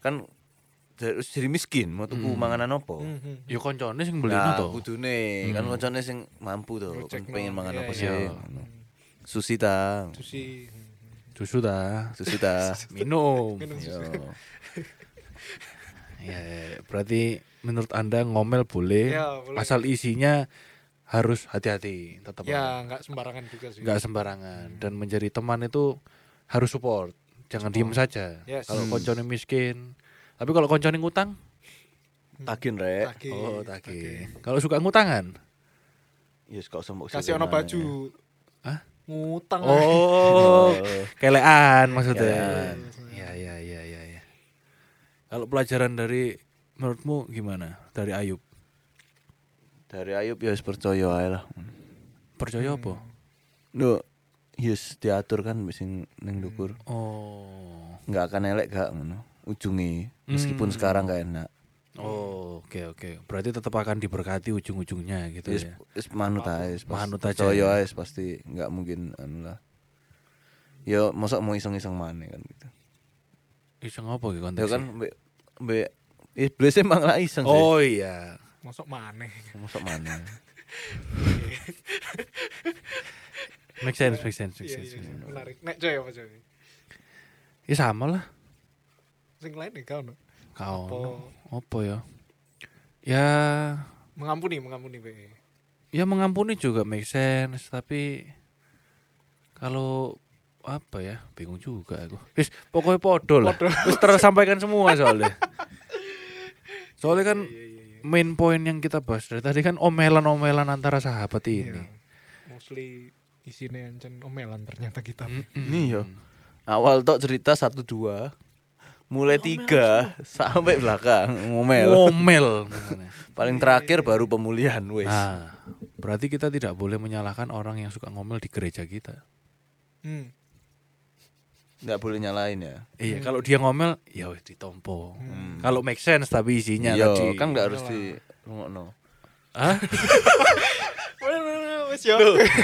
Speaker 2: Kan terus jadi miskin mau tuku manganan opo.
Speaker 3: Hmm, hmm.
Speaker 1: Ya koncone sing beli Hmm.
Speaker 2: Nah,
Speaker 1: to.
Speaker 2: kudune kan koncone sing mampu to,
Speaker 3: Gojek
Speaker 2: kan pengen
Speaker 3: no.
Speaker 2: mangan
Speaker 3: Iya,
Speaker 2: apa
Speaker 3: iya.
Speaker 2: sih.
Speaker 1: Iya.
Speaker 2: ngono. Sushi ta.
Speaker 3: Itu sih. Hmm.
Speaker 1: Susu ta.
Speaker 2: Sushi ta. Iya.
Speaker 1: Minum. Iya.
Speaker 3: Minum
Speaker 2: Yo.
Speaker 3: susu.
Speaker 1: Ya, ya, berarti menurut Anda ngomel boleh,
Speaker 3: Ya, boleh.
Speaker 1: asal isinya harus hati-hati, tetap
Speaker 3: Ya Hmm. nggak sembarangan juga sih.
Speaker 1: nggak sembarangan dan menjadi teman itu harus support, jangan diem saja.
Speaker 3: Yes.
Speaker 1: Kalau
Speaker 3: Hmm.
Speaker 1: koncone miskin, tapi kalau koncone ngutang,
Speaker 2: Tagin rek.
Speaker 3: Tagih,
Speaker 1: oh
Speaker 3: tagih.
Speaker 1: tagih. Kalau suka ngutangan,
Speaker 2: Yes kok sembok.
Speaker 3: Kasih ono
Speaker 2: ya?
Speaker 3: baju.
Speaker 1: Hah?
Speaker 3: Ngutang.
Speaker 1: oh kelean maksudnya.
Speaker 2: Kelean.
Speaker 1: Ya ya ya ya ya. Kalau pelajaran dari menurutmu gimana dari Ayub?
Speaker 2: Dari Ayub ya wis percaya ae lah.
Speaker 3: Hmm.
Speaker 1: Percaya apa?
Speaker 2: Lho, yes diatur kan sing ning
Speaker 3: Hmm.
Speaker 2: dukur.
Speaker 1: Oh.
Speaker 2: Nggak akan elek gak ngono. Ujunge
Speaker 1: Hmm.
Speaker 2: meskipun sekarang gak enak.
Speaker 1: Oh, oke oke. Berarti tetap akan diberkati ujung-ujungnya gitu
Speaker 2: Wis
Speaker 1: ya.
Speaker 2: wis manut ae, wis pas-
Speaker 1: Manut aja
Speaker 2: percaya
Speaker 1: ya.
Speaker 2: ae, wis pasti nggak mungkin anu lah. Ya masa mau iseng-iseng mana kan gitu.
Speaker 1: Iseng apa gitu
Speaker 2: Ya
Speaker 1: konteksnya?
Speaker 2: kan mbek mbek iblis emang lah iseng sih.
Speaker 1: Oh iya.
Speaker 3: Masuk maneh.
Speaker 2: Masa mana?
Speaker 1: Make sense, make sense, make
Speaker 3: Iya
Speaker 1: sense.
Speaker 3: iya. iya. Menarik. Nek coy apa coy?
Speaker 1: Ya sama lah.
Speaker 3: Sing lain nih kau no.
Speaker 1: Kau.
Speaker 3: Apa?
Speaker 1: Apa ya? Ya,
Speaker 3: Mengampuni mengampuni Iya, be.
Speaker 1: ya mengampuni juga make sense, tapi kalau apa ya bingung juga aku wis pokoknya podo lah wis tersampaikan semua soalnya soalnya kan
Speaker 3: Iya,
Speaker 1: main point yang kita bahas dari tadi kan omelan-omelan antara sahabat ini
Speaker 3: Iya. Mostly isinya ancen omelan ternyata kita.
Speaker 1: Hmm.
Speaker 2: Ini ya. Awal tok cerita 1 2 mulai tiga sampai belakang
Speaker 1: Oh.
Speaker 2: ngomel.
Speaker 1: ngomel
Speaker 2: Paling terakhir baru pemulihan wis.
Speaker 1: nah berarti kita tidak boleh menyalahkan orang yang suka ngomel di gereja kita
Speaker 3: Hmm.
Speaker 2: Nggak boleh nyalain ya.
Speaker 1: iya kalau dia ngomel ya wis ditompo
Speaker 2: Hmm.
Speaker 1: kalau make sense tapi isinya
Speaker 2: Iya,
Speaker 1: tadi
Speaker 2: kan nggak harus
Speaker 3: Iyalah.
Speaker 2: di rungokno.
Speaker 1: Hah?
Speaker 3: Wes yo.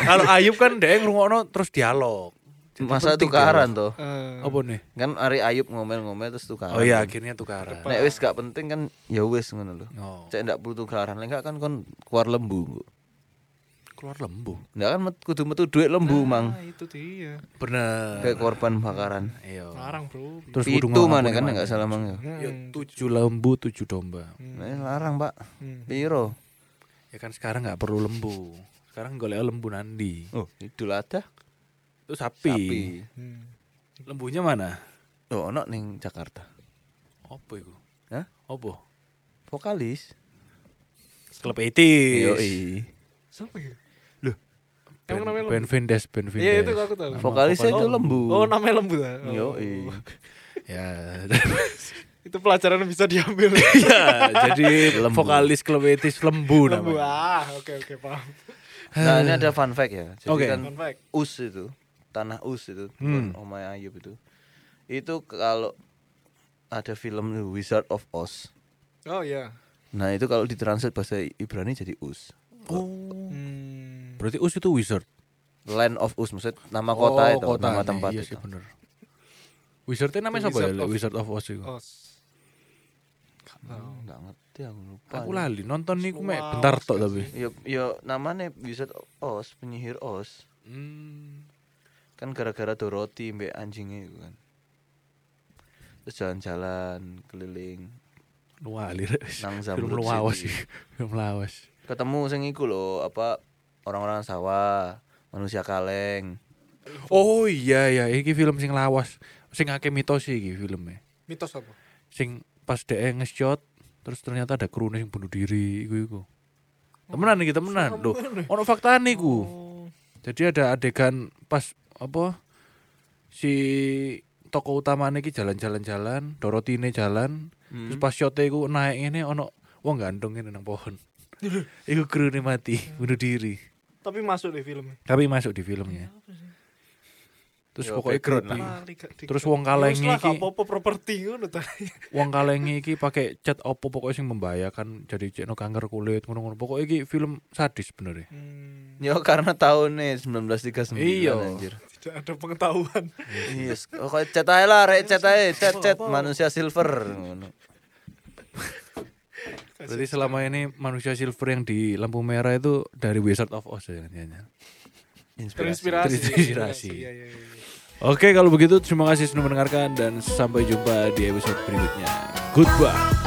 Speaker 1: kalau Ayub kan dia ngrungokno terus dialog Jadi
Speaker 2: Masa
Speaker 1: penting ya.
Speaker 2: tukaran toh.
Speaker 1: dialog.
Speaker 3: Eh,
Speaker 1: apa nih
Speaker 2: Kan Ari Ayub ngomel-ngomel terus tukaran.
Speaker 1: oh iya akhirnya tukaran
Speaker 2: Ah. Nek wis gak penting kan ya wis ngono lho.
Speaker 1: oh.
Speaker 2: Cek ndak perlu tukaran. Lek gak kan kon keluar lembu.
Speaker 1: keluar lembu.
Speaker 2: Nggak kan met- kudu metu duit lembu mang
Speaker 3: Nah, itu dia.
Speaker 1: Bener.
Speaker 2: kayak korban bakaran.
Speaker 1: Iya.
Speaker 3: Larang, Bro.
Speaker 1: nah, Terus kudu
Speaker 2: Itu
Speaker 1: ngelawan
Speaker 2: mana kan
Speaker 1: mana?
Speaker 2: nggak salah mang. ya?
Speaker 3: Hmm,
Speaker 1: Ya, tujuh lembu, tujuh domba.
Speaker 2: Nah, ini larang pak.
Speaker 3: hmm.
Speaker 2: Piro?
Speaker 1: Ya kan sekarang nggak perlu lembu. Sekarang golek lembu nandi.
Speaker 2: Oh, idul ada.
Speaker 1: Itu sapi.
Speaker 3: hmm.
Speaker 1: Lembunya mana?
Speaker 2: Oh, ono ning Jakarta.
Speaker 1: Apa itu?
Speaker 2: Hah?
Speaker 1: Apa?
Speaker 2: Vokalis.
Speaker 1: Klub 80s.
Speaker 2: Yoi.
Speaker 3: Siapa ya?
Speaker 1: Ben,
Speaker 3: Emang namanya
Speaker 1: ben Vindes, Ben Vindes.
Speaker 3: Iya, itu aku
Speaker 1: Nama
Speaker 3: tahu.
Speaker 2: Vokalisnya e itu
Speaker 1: vokalis-
Speaker 2: lembu.
Speaker 3: Oh, namanya lembu ta? Oh.
Speaker 2: Yoi.
Speaker 1: Ya.
Speaker 3: Itu pelajaran yang bisa diambil.
Speaker 1: ya, jadi vokalis klub 80s lembu
Speaker 3: lembu.
Speaker 1: namanya.
Speaker 3: Ah, oke oke paham.
Speaker 2: Nah, ini ada fun fact ya. Jadi
Speaker 1: Oke.
Speaker 2: kan
Speaker 3: Fun fact.
Speaker 2: Us itu, tanah Us itu,
Speaker 1: Hmm.
Speaker 2: Omai Ayub itu. Itu kalau ada film The Wizard of Oz.
Speaker 3: Oh iya.
Speaker 2: Nah, itu kalau ditranslate bahasa Ibrani jadi Us.
Speaker 1: Oh.
Speaker 3: Hmm.
Speaker 1: Berarti Us itu wizard.
Speaker 2: Land of Us maksud nama kota
Speaker 1: Oh,
Speaker 2: itu, nama
Speaker 1: nih.
Speaker 2: tempat
Speaker 1: Iya
Speaker 2: itu.
Speaker 1: sih bener. Wizardnya namanya siapa ya?
Speaker 3: Wizard of- Oh,
Speaker 1: Wizard of Oz itu.
Speaker 3: Os. Gak tahu.
Speaker 2: Enggak Oh, ngerti aku lupa.
Speaker 1: Aku lali nonton nih aku mek
Speaker 3: Wow,
Speaker 1: bentar tok tapi.
Speaker 2: Yo yo namanya Wizard of Oz, penyihir Oz.
Speaker 1: Hmm.
Speaker 2: Kan gara-gara Dorothy mbek anjingnya itu kan. Terus jalan-jalan keliling
Speaker 1: Lu lali. Rek.
Speaker 2: nang
Speaker 1: Film
Speaker 2: Zamrud
Speaker 1: lawas sih.
Speaker 2: City.
Speaker 1: Film lawas.
Speaker 2: ketemu sing iku lho apa orang-orang sawah manusia kaleng
Speaker 1: Oh iya ya, iki film sing lawas. Sing akeh mitos sih iki filmnya.
Speaker 3: Mitos apa?
Speaker 1: Sing pas dhek nge-shot terus ternyata ada kru yang bunuh diri iku iku. Temenan iki temenan. Loh, ono faktane iku.
Speaker 3: Oh.
Speaker 1: Jadi ada adegan pas apa si tokoh utamane iki jalan-jalan-jalan, Dorotine jalan,
Speaker 2: Hmm.
Speaker 1: terus pas shote iku naik ngene ono wong gandeng ngene nang pohon. Iku kru mati, bunuh diri.
Speaker 3: Tapi masuk deh filmnya.
Speaker 1: Tapi masuk di filmnya. Terus
Speaker 2: Ya,
Speaker 1: pokoknya
Speaker 2: background
Speaker 1: creepy.
Speaker 2: lah.
Speaker 3: Lali gak di-
Speaker 1: Iya. Terus wong
Speaker 3: Yus
Speaker 1: kalengnya
Speaker 3: lah, gak
Speaker 1: iki,
Speaker 3: apa-apa properti ngono ta.
Speaker 1: wong kalengnya iki pakai cat opo pokoknya sing membahayakan kan jadi cekno kanker kulit ngono-ngono. Pokoknya iki film sadis bener ya.
Speaker 3: Hmm,
Speaker 2: yo karena tahun nih 1939
Speaker 1: Iya.
Speaker 2: anjir
Speaker 3: tidak ada pengetahuan.
Speaker 2: iya kok cet ae lah rek cet ae cet cet
Speaker 3: Apa?
Speaker 2: manusia silver ngono
Speaker 1: Berarti selama ini manusia silver yang di lampu merah itu dari Wizard of Oz ya. ya.
Speaker 2: inspirasi
Speaker 3: Terinspirasi.
Speaker 1: Terinspirasi.
Speaker 3: Iya, iya, iya.
Speaker 1: Oke, kalau begitu terima kasih sudah mendengarkan dan sampai jumpa di episode berikutnya. Goodbye.